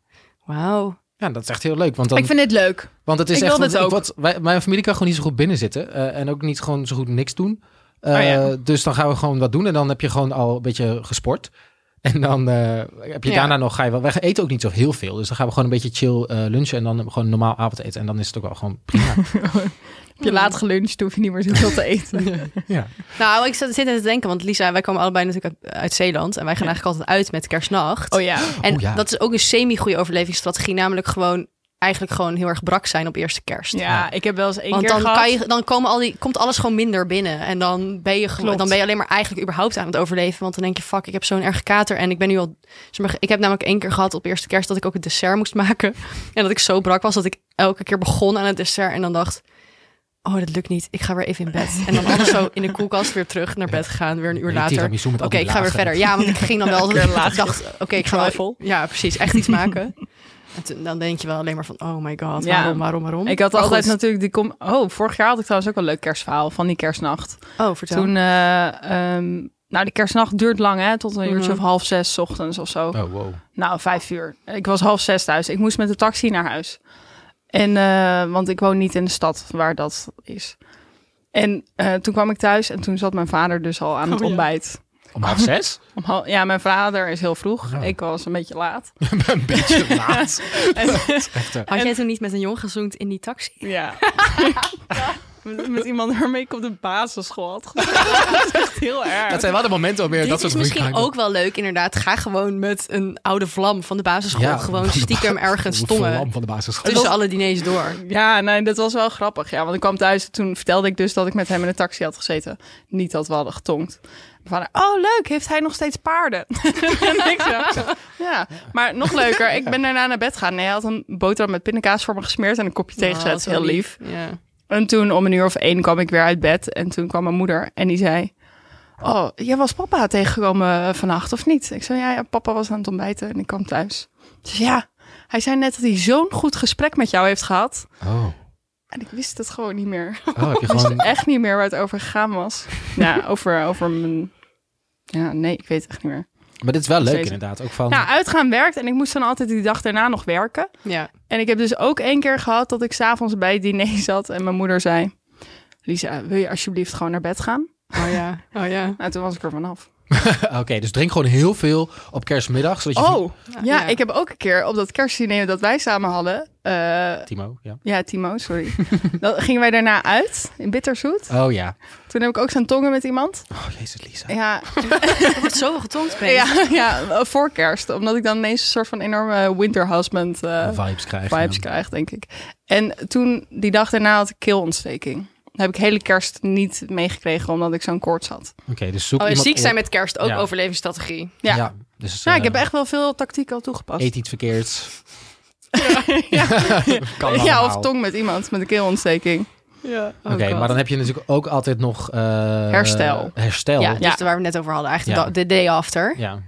Speaker 3: Wauw.
Speaker 2: Ja, dat is echt heel leuk. Want, dan,
Speaker 1: ik vind dit leuk.
Speaker 2: want het is
Speaker 1: ik
Speaker 2: echt...
Speaker 1: wil dit
Speaker 2: want ik-
Speaker 1: ook.
Speaker 2: Wat, wij- mijn familie kan gewoon niet zo goed binnen zitten. eh, en ook niet gewoon zo goed niks doen. Eh,
Speaker 1: Oh ja.
Speaker 2: Dus dan gaan we gewoon wat doen. En dan heb je gewoon al een beetje gesport. [LAUGHS] En dan eh, heb je
Speaker 1: Ja.
Speaker 2: daarna nog... Ga je wel, wij eten ook niet zo heel veel. Dus dan gaan we gewoon een beetje chill eh, lunchen. En dan gewoon normaal avondeten. En dan is het ook wel
Speaker 3: [LAUGHS]
Speaker 2: gewoon prima.
Speaker 1: Heb je laat geluncht, hoef je niet meer zoveel te
Speaker 3: [LAUGHS]
Speaker 1: eten.
Speaker 2: ja.
Speaker 3: Nou, ik zat- zit net te denken, want Lisa, wij komen allebei natuurlijk uit, uit Zeeland. En wij gaan eigenlijk altijd uit met kerstnacht.
Speaker 1: Oh ja.
Speaker 3: En
Speaker 2: Oh ja.
Speaker 3: dat is ook een semi-goede overlevingsstrategie. Namelijk gewoon eigenlijk gewoon heel erg brak zijn op eerste kerst.
Speaker 1: Ja, ik heb wel eens één
Speaker 3: Want
Speaker 1: keer
Speaker 3: dan,
Speaker 1: gehad.
Speaker 3: kan je, dan komen al die, komt alles gewoon minder binnen. En dan ben, je gewoon,
Speaker 1: Klopt.
Speaker 3: dan ben je alleen maar eigenlijk überhaupt aan het overleven. Want dan denk je, fuck, ik heb zo'n erg kater. En ik ben nu al... zeg maar, Ik heb namelijk één keer gehad op eerste kerst dat ik ook het dessert moest maken. [LAUGHS] En dat ik zo brak was dat ik elke keer begon aan het dessert. En dan dacht, oh, dat lukt niet. Ik ga weer even in bed. En dan alles zo in de koelkast weer terug naar bed gegaan. Weer een uur
Speaker 2: Ja, die
Speaker 3: later.
Speaker 2: tiramisu met
Speaker 3: Oké,
Speaker 2: al die
Speaker 3: ik ga weer
Speaker 2: lagen.
Speaker 3: verder. Ja, want ik ging dan wel...
Speaker 1: [LAUGHS] weer een
Speaker 3: ik
Speaker 1: laagje.
Speaker 3: dacht, oké, ik ga wel...
Speaker 1: Kruifel.
Speaker 3: Ja, precies. Echt iets maken. En toen- dan denk je wel alleen maar van, oh my god,
Speaker 1: Ja.
Speaker 3: waarom, waarom, waarom?
Speaker 1: Ik had
Speaker 3: Maar
Speaker 1: altijd
Speaker 3: goed.
Speaker 1: natuurlijk die kom. Oh, vorig jaar had ik trouwens ook wel een leuk kerstverhaal van die kerstnacht.
Speaker 3: Oh, vertel.
Speaker 1: Toen, eh, ehm, nou, die kerstnacht duurt lang, hè, tot een uurtje
Speaker 3: Mhm.
Speaker 1: of half zes 's ochtends of zo.
Speaker 2: Oh, wow.
Speaker 1: Nou, vijf uur. Ik was half zes thuis. Ik moest met de taxi naar huis. En, eh, want ik woon niet in de stad waar dat is. En eh, toen kwam ik thuis en toen zat mijn vader dus al aan het
Speaker 3: Oh ja.
Speaker 1: ontbijt.
Speaker 2: Om half
Speaker 3: [LAUGHS]
Speaker 2: zes? [LAUGHS]
Speaker 1: Om hal- ja, mijn vader is heel vroeg.
Speaker 2: Ja.
Speaker 1: Ik was een beetje laat.
Speaker 2: een
Speaker 3: [LAUGHS]
Speaker 2: beetje laat. [LAUGHS]
Speaker 1: En-
Speaker 2: Echt, eh,
Speaker 3: Had jij toen niet met een jong gezoend in die taxi?
Speaker 1: Ja. met, met iemand waarmee ik op de basisschool had gezeten. dat is echt heel
Speaker 2: dat
Speaker 1: erg.
Speaker 2: zijn wel de momenten om weer
Speaker 3: Dit
Speaker 2: dat soort
Speaker 3: is misschien
Speaker 2: moeilijkheden.
Speaker 3: ook wel leuk, inderdaad. Ga gewoon met een oude vlam van de basisschool
Speaker 2: Ja, [LAUGHS]
Speaker 3: gewoon
Speaker 2: van de
Speaker 3: stiekem
Speaker 2: basisschool.
Speaker 3: ergens
Speaker 2: Hoe vol lam
Speaker 3: tongen.
Speaker 2: van de
Speaker 3: [LAUGHS]
Speaker 2: basisschool.
Speaker 3: Tussen alle diners door.
Speaker 1: Ja, nee, dat was wel grappig. Ja, want ik kwam thuis en toen vertelde ik dus dat ik met hem in de taxi had gezeten. Niet dat we hadden getongd. Mijn vader, oh leuk, heeft hij nog steeds paarden? [LAUGHS] en ik zo, ja, maar nog leuker, ik ben daarna naar bed gaan. Nee, hij had een boterham met pindakaas voor me gesmeerd en een kopje thee gezet.
Speaker 3: Oh, zo
Speaker 1: Heel lief.
Speaker 3: Ja.
Speaker 1: En toen om een uur of één kwam ik weer uit bed. En toen kwam mijn moeder en die zei... Oh, jij was papa tegengekomen eh, vannacht, of niet? Ik zei, ja, ja, papa was aan het ontbijten en ik kwam thuis. Ze zei, ja, hij zei net dat hij zo'n goed gesprek met jou heeft gehad.
Speaker 2: Oh.
Speaker 1: En ik wist het gewoon niet meer. [LAUGHS]
Speaker 2: oh, heb je
Speaker 1: Ik wist
Speaker 2: gewoon...
Speaker 1: echt niet meer waar het over gegaan was. Ja, over, over mijn... Ja, nee, ik weet het echt niet meer.
Speaker 2: Maar dit is wel leuk
Speaker 1: Steeds.
Speaker 2: inderdaad. Ook van... [LAUGHS]
Speaker 1: Nou, uitgaan werkt en ik moest dan altijd die dag daarna nog werken.
Speaker 3: ja.
Speaker 1: En ik heb dus ook één keer gehad dat ik s'avonds bij het diner [LAUGHS] zat en mijn moeder zei... Lisa, wil je alsjeblieft gewoon naar bed gaan?
Speaker 3: Oh ja. Oh ja.
Speaker 1: Nou, toen was ik er vanaf.
Speaker 2: Oké, dus drink gewoon heel veel op kerstmiddag. Zodat je...
Speaker 1: Oh, ja,
Speaker 3: Ja.
Speaker 1: ik heb ook een keer op dat kerstdiner dat wij samen hadden... eh,
Speaker 2: Timo, ja.
Speaker 1: ja, Timo, sorry.
Speaker 2: [LAUGHS]
Speaker 1: dan gingen wij daarna uit in Bitterzoet.
Speaker 2: Oh ja.
Speaker 1: Toen heb ik ook zijn tongen met iemand.
Speaker 2: Oh, jezus Lisa.
Speaker 1: Ja,
Speaker 3: Er wordt zoveel [LAUGHS] getongd, Peter.
Speaker 1: ja, ja, voor kerst. Omdat ik dan ineens een soort van enorme winter husband eh,
Speaker 2: vibes krijgen.
Speaker 1: vibes krijg, denk ik. En toen, die dag daarna had ik keelontsteking. Daar heb ik hele kerst niet meegekregen, omdat ik zo'n koorts had.
Speaker 2: Oké, dus zoek
Speaker 3: Oh, en
Speaker 2: iemand
Speaker 3: ziek
Speaker 2: op.
Speaker 3: zijn met kerst, ook
Speaker 2: Ja.
Speaker 3: overlevingsstrategie.
Speaker 1: Ja.
Speaker 2: dus,
Speaker 1: Nou, ik
Speaker 2: eh,
Speaker 1: heb echt wel veel tactiek al toegepast.
Speaker 2: Eet iets verkeerds.
Speaker 1: [LAUGHS] ja.
Speaker 2: [LAUGHS] Kan
Speaker 1: ja,
Speaker 2: allemaal.
Speaker 1: of tong met iemand met een keelontsteking.
Speaker 3: Ja.
Speaker 2: Oké, maar dan heb je natuurlijk ook altijd nog... eh,
Speaker 1: Herstel.
Speaker 2: Herstel.
Speaker 3: Ja, dus
Speaker 1: Ja.
Speaker 3: waar we het net over hadden, eigenlijk
Speaker 2: Ja.
Speaker 3: de, da- de day after.
Speaker 2: Ja.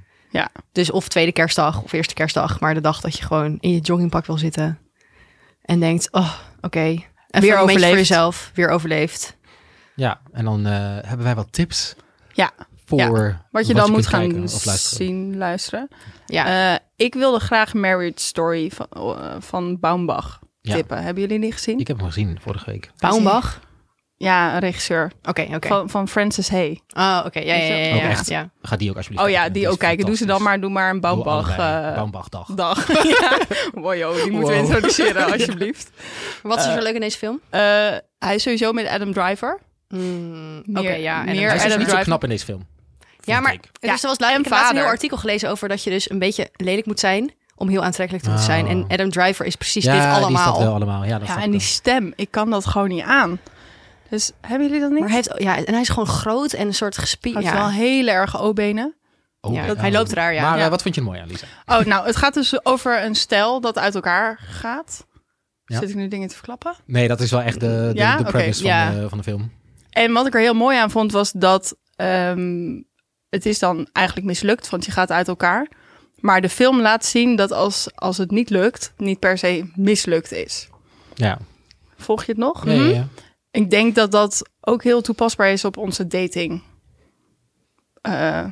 Speaker 3: Dus of tweede kerstdag of eerste kerstdag, maar de dag dat je gewoon in je joggingpak wil zitten en denkt, oh, oké.
Speaker 1: Weer
Speaker 3: En weer overleefd.
Speaker 1: overleefd.
Speaker 3: voor jezelf, weer overleefd.
Speaker 2: Ja, en dan eh, hebben wij wat tips
Speaker 1: Ja.
Speaker 2: voor
Speaker 1: Wat je dan
Speaker 2: kunt
Speaker 1: moet gaan
Speaker 2: kijken of luisteren.
Speaker 1: zien, luisteren.
Speaker 3: Ja.
Speaker 1: Eh, ik wilde graag Marriage Story van, eh, van Baumbach
Speaker 2: Ja.
Speaker 1: tippen. Hebben jullie die gezien?
Speaker 2: Ik heb hem gezien vorige week.
Speaker 3: Baumbach?
Speaker 1: Ja, een regisseur
Speaker 3: Oké, oké.
Speaker 1: van, van Francis Hay.
Speaker 3: Oh, oké. Ja, ja, ja. ja,
Speaker 2: Ook
Speaker 3: ja.
Speaker 2: echt.
Speaker 3: ja.
Speaker 2: Ga die ook alsjeblieft
Speaker 1: Oh ja,
Speaker 2: kijken.
Speaker 1: die
Speaker 2: is
Speaker 1: ook kijken. Doe ze dan maar,
Speaker 2: fantastisch.
Speaker 1: doe maar een
Speaker 2: Doe
Speaker 1: Baumbach,
Speaker 2: allebei.
Speaker 1: eh,
Speaker 2: Baumbachdag.
Speaker 1: dag. [LAUGHS] ja. Mooi, joh, die moeten we
Speaker 2: Wow.
Speaker 1: introduceren,
Speaker 2: [LAUGHS]
Speaker 1: alsjeblieft.
Speaker 3: Wat is er zo leuk in deze film?
Speaker 1: Eh, hij is sowieso met Adam Driver.
Speaker 3: Hmm, oké,
Speaker 1: Meer-
Speaker 3: ja. En
Speaker 1: meer
Speaker 3: dan-
Speaker 2: Hij is
Speaker 1: Adam
Speaker 2: dus niet zo
Speaker 1: Driver.
Speaker 2: knap in deze film.
Speaker 3: Ja,
Speaker 2: vind
Speaker 3: maar dus
Speaker 2: ik.
Speaker 3: er
Speaker 1: Ja,
Speaker 3: is wel eens laatst, ik
Speaker 1: en
Speaker 3: heb laatst een heel
Speaker 1: vader.
Speaker 3: artikel gelezen over dat je dus een beetje lelijk moet zijn om heel aantrekkelijk te moeten
Speaker 2: Oh.
Speaker 3: zijn. En Adam Driver is precies
Speaker 2: ja,
Speaker 3: dit
Speaker 2: die staat
Speaker 3: allemaal.
Speaker 2: wel allemaal. Ja, dat
Speaker 1: Ja,
Speaker 2: snap
Speaker 1: en
Speaker 2: ik
Speaker 1: die
Speaker 2: wel.
Speaker 1: stem, ik kan dat gewoon niet aan. Dus hebben jullie dat niet?
Speaker 3: Maar hij heeft, ja, en hij is gewoon groot en een soort
Speaker 1: Hij
Speaker 3: gespierd.
Speaker 1: heeft wel
Speaker 3: Ja.
Speaker 1: heel erg O-benen.
Speaker 2: Oh,
Speaker 3: Ja,
Speaker 2: ja,
Speaker 3: dat- hij loopt raar, ja.
Speaker 2: Maar eh,
Speaker 1: Ja.
Speaker 2: wat vond je er mooi aan, Lisa?
Speaker 1: Oh, nou, het gaat dus over een stijl dat uit elkaar gaat.
Speaker 2: Ja.
Speaker 1: Zit ik nu dingen te verklappen?
Speaker 2: Nee, dat is wel echt de, de,
Speaker 1: Ja?
Speaker 2: de
Speaker 1: Oké,
Speaker 2: premise
Speaker 3: ja.
Speaker 2: van, de, van de film.
Speaker 1: En wat ik er heel mooi aan vond was dat ehm, het is dan eigenlijk mislukt, want je gaat uit elkaar. Maar de film laat zien dat als, als het niet lukt, niet per se mislukt is.
Speaker 2: Ja.
Speaker 1: Volg je het nog? Mhm.
Speaker 2: Ja, ja, ja.
Speaker 1: Ik denk dat dat ook heel toepasbaar is op onze dating. eh,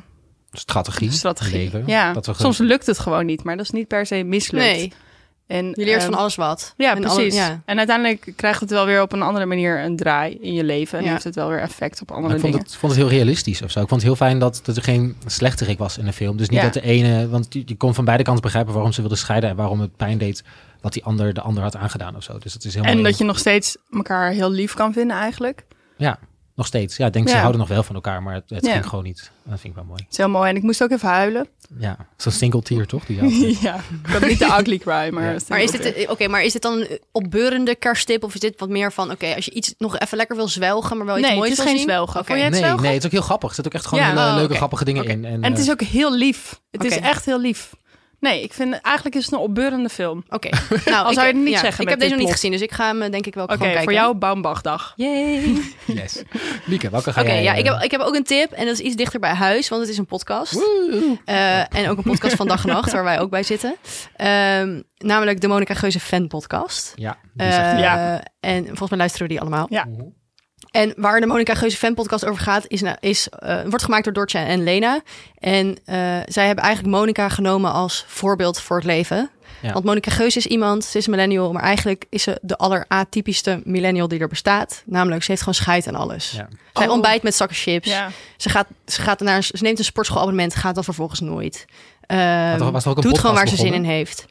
Speaker 2: Strategie.
Speaker 1: strategie.
Speaker 2: Leven,
Speaker 1: ja,
Speaker 2: Dat we gewoon-
Speaker 1: soms lukt het gewoon niet, maar dat is niet per se mislukt.
Speaker 3: Nee,
Speaker 1: En,
Speaker 3: je leert
Speaker 1: ehm,
Speaker 3: van alles wat.
Speaker 1: Ja,
Speaker 3: En alle-
Speaker 1: precies.
Speaker 3: ja.
Speaker 1: En uiteindelijk krijgt het wel weer op een andere manier een draai in je leven. En
Speaker 3: Ja.
Speaker 1: heeft het wel weer effect op
Speaker 2: Maar
Speaker 1: andere
Speaker 2: ik vond
Speaker 1: dingen.
Speaker 2: het, vond het heel realistisch of zo. Ik vond het heel fijn dat, dat er geen slechterik was in de film. Dus niet
Speaker 1: Ja.
Speaker 2: dat de ene... Want je, je kon van beide kanten begrijpen waarom ze wilden scheiden... en waarom het pijn deed wat die ander de ander had aangedaan of zo. Dus dat is heel
Speaker 1: En
Speaker 2: mooi.
Speaker 1: dat je nog steeds elkaar heel lief kan vinden eigenlijk. Het
Speaker 2: Ja, nog steeds. Ja, ik denk ze
Speaker 1: Ja.
Speaker 2: houden nog wel van elkaar, maar het, het
Speaker 1: Ja.
Speaker 2: ging gewoon niet. Dat vind ik wel mooi.
Speaker 1: is heel mooi. En ik moest ook even
Speaker 2: [LAUGHS]
Speaker 1: huilen.
Speaker 2: Ja, zo'n single tier toch?
Speaker 3: [LAUGHS]
Speaker 2: Die je had.
Speaker 1: ja, ik had niet de ugly cry, maar...
Speaker 2: Ja.
Speaker 1: het
Speaker 3: Maar is,
Speaker 1: wel
Speaker 3: dit,
Speaker 1: weer-
Speaker 3: eh, oké, maar is dit dan een opbeurende kersttip? Of is dit wat meer van, oké, als je iets nog even lekker wil zwelgen, maar wel iets
Speaker 1: Nee,
Speaker 3: moois
Speaker 1: het is
Speaker 3: wil
Speaker 1: geen
Speaker 3: zien?
Speaker 1: zwelgen.
Speaker 3: Oké.
Speaker 1: Vond jij het
Speaker 2: nee,
Speaker 1: wel?
Speaker 2: nee, het is ook heel grappig. Er zitten ook echt gewoon
Speaker 1: Ja.
Speaker 2: hele
Speaker 3: Oh,
Speaker 2: leuke,
Speaker 3: oké.
Speaker 2: grappige dingen
Speaker 3: Oké.
Speaker 2: in. En,
Speaker 1: En het
Speaker 2: eh,
Speaker 1: is ook heel lief. Het is
Speaker 3: Oké.
Speaker 1: echt heel lief. Nee, ik vind... Eigenlijk is het een opbeurende film. [LAUGHS]
Speaker 3: Oké, nou,
Speaker 1: Al
Speaker 3: ik-
Speaker 1: zou je het niet
Speaker 3: ja,
Speaker 1: zeggen
Speaker 3: Ik
Speaker 1: met
Speaker 3: heb deze
Speaker 1: dit
Speaker 3: nog niet
Speaker 1: plot.
Speaker 3: gezien, dus ik ga hem eh, denk ik wel
Speaker 1: Oké,
Speaker 3: gewoon kijken.
Speaker 1: voor jou Baumbachdag.
Speaker 3: Yay.
Speaker 2: Yes. Lieke, welke ga
Speaker 3: Oké,
Speaker 2: jij...
Speaker 3: ja, ik
Speaker 2: eh,
Speaker 3: heb, ik heb ook een tip en dat is iets dichter bij huis, want het is een podcast.
Speaker 2: woe.
Speaker 3: Eh, en ook een podcast van dag en
Speaker 1: [LAUGHS]
Speaker 3: nacht, waar wij ook bij zitten. Ehm, namelijk de Monica Geuze fan podcast.
Speaker 2: Ja, die is echt- Mhm.
Speaker 3: Eh,
Speaker 1: Ja.
Speaker 3: En volgens mij luisteren we die allemaal.
Speaker 1: Ja.
Speaker 3: En waar de Monica Geuze fan podcast over gaat, is, nou- is, eh, wordt gemaakt door Dortje en Lena. En eh, zij hebben eigenlijk Monica genomen als voorbeeld voor het leven.
Speaker 2: Ja.
Speaker 3: Want Monica Geuze is iemand, ze is een millennial, maar eigenlijk is ze de alleratypischste millennial die er bestaat. Namelijk, ze heeft gewoon scheid aan alles.
Speaker 2: Ja.
Speaker 3: Zij
Speaker 1: Oh.
Speaker 3: ontbijt met zakken chips.
Speaker 1: Ja.
Speaker 3: Ze, gaat, ze, gaat naar, ze neemt een sportschoolabonnement, gaat dan vervolgens nooit. Ehm,
Speaker 2: er- was er ook een
Speaker 3: doet gewoon waar
Speaker 2: podcast
Speaker 3: ze zin in
Speaker 2: begonnen?
Speaker 3: heeft.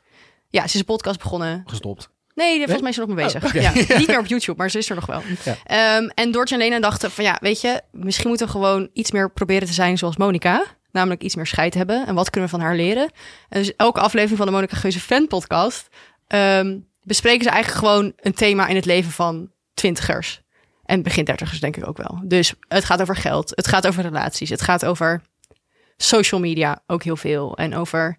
Speaker 3: Ja, ze is een podcast begonnen.
Speaker 2: Gestopt.
Speaker 3: Nee, volgens mij is ze er nog mee bezig.
Speaker 2: Oh, oké. [LAUGHS]
Speaker 3: ja, niet meer op YouTube, maar ze is er nog wel.
Speaker 2: Ja.
Speaker 3: Ehm, en Dortje en Lena dachten van ja, weet je, misschien moeten we gewoon iets meer proberen te zijn zoals Monica. Namelijk iets meer scheid hebben. En wat kunnen we van haar leren? En dus elke aflevering van de Monica Geuze fan podcast ehm, bespreken ze eigenlijk gewoon een thema in het leven van twintigers. En begin dertigers denk ik ook wel. Dus het gaat over geld, het gaat over relaties, het gaat over social media ook heel veel. En over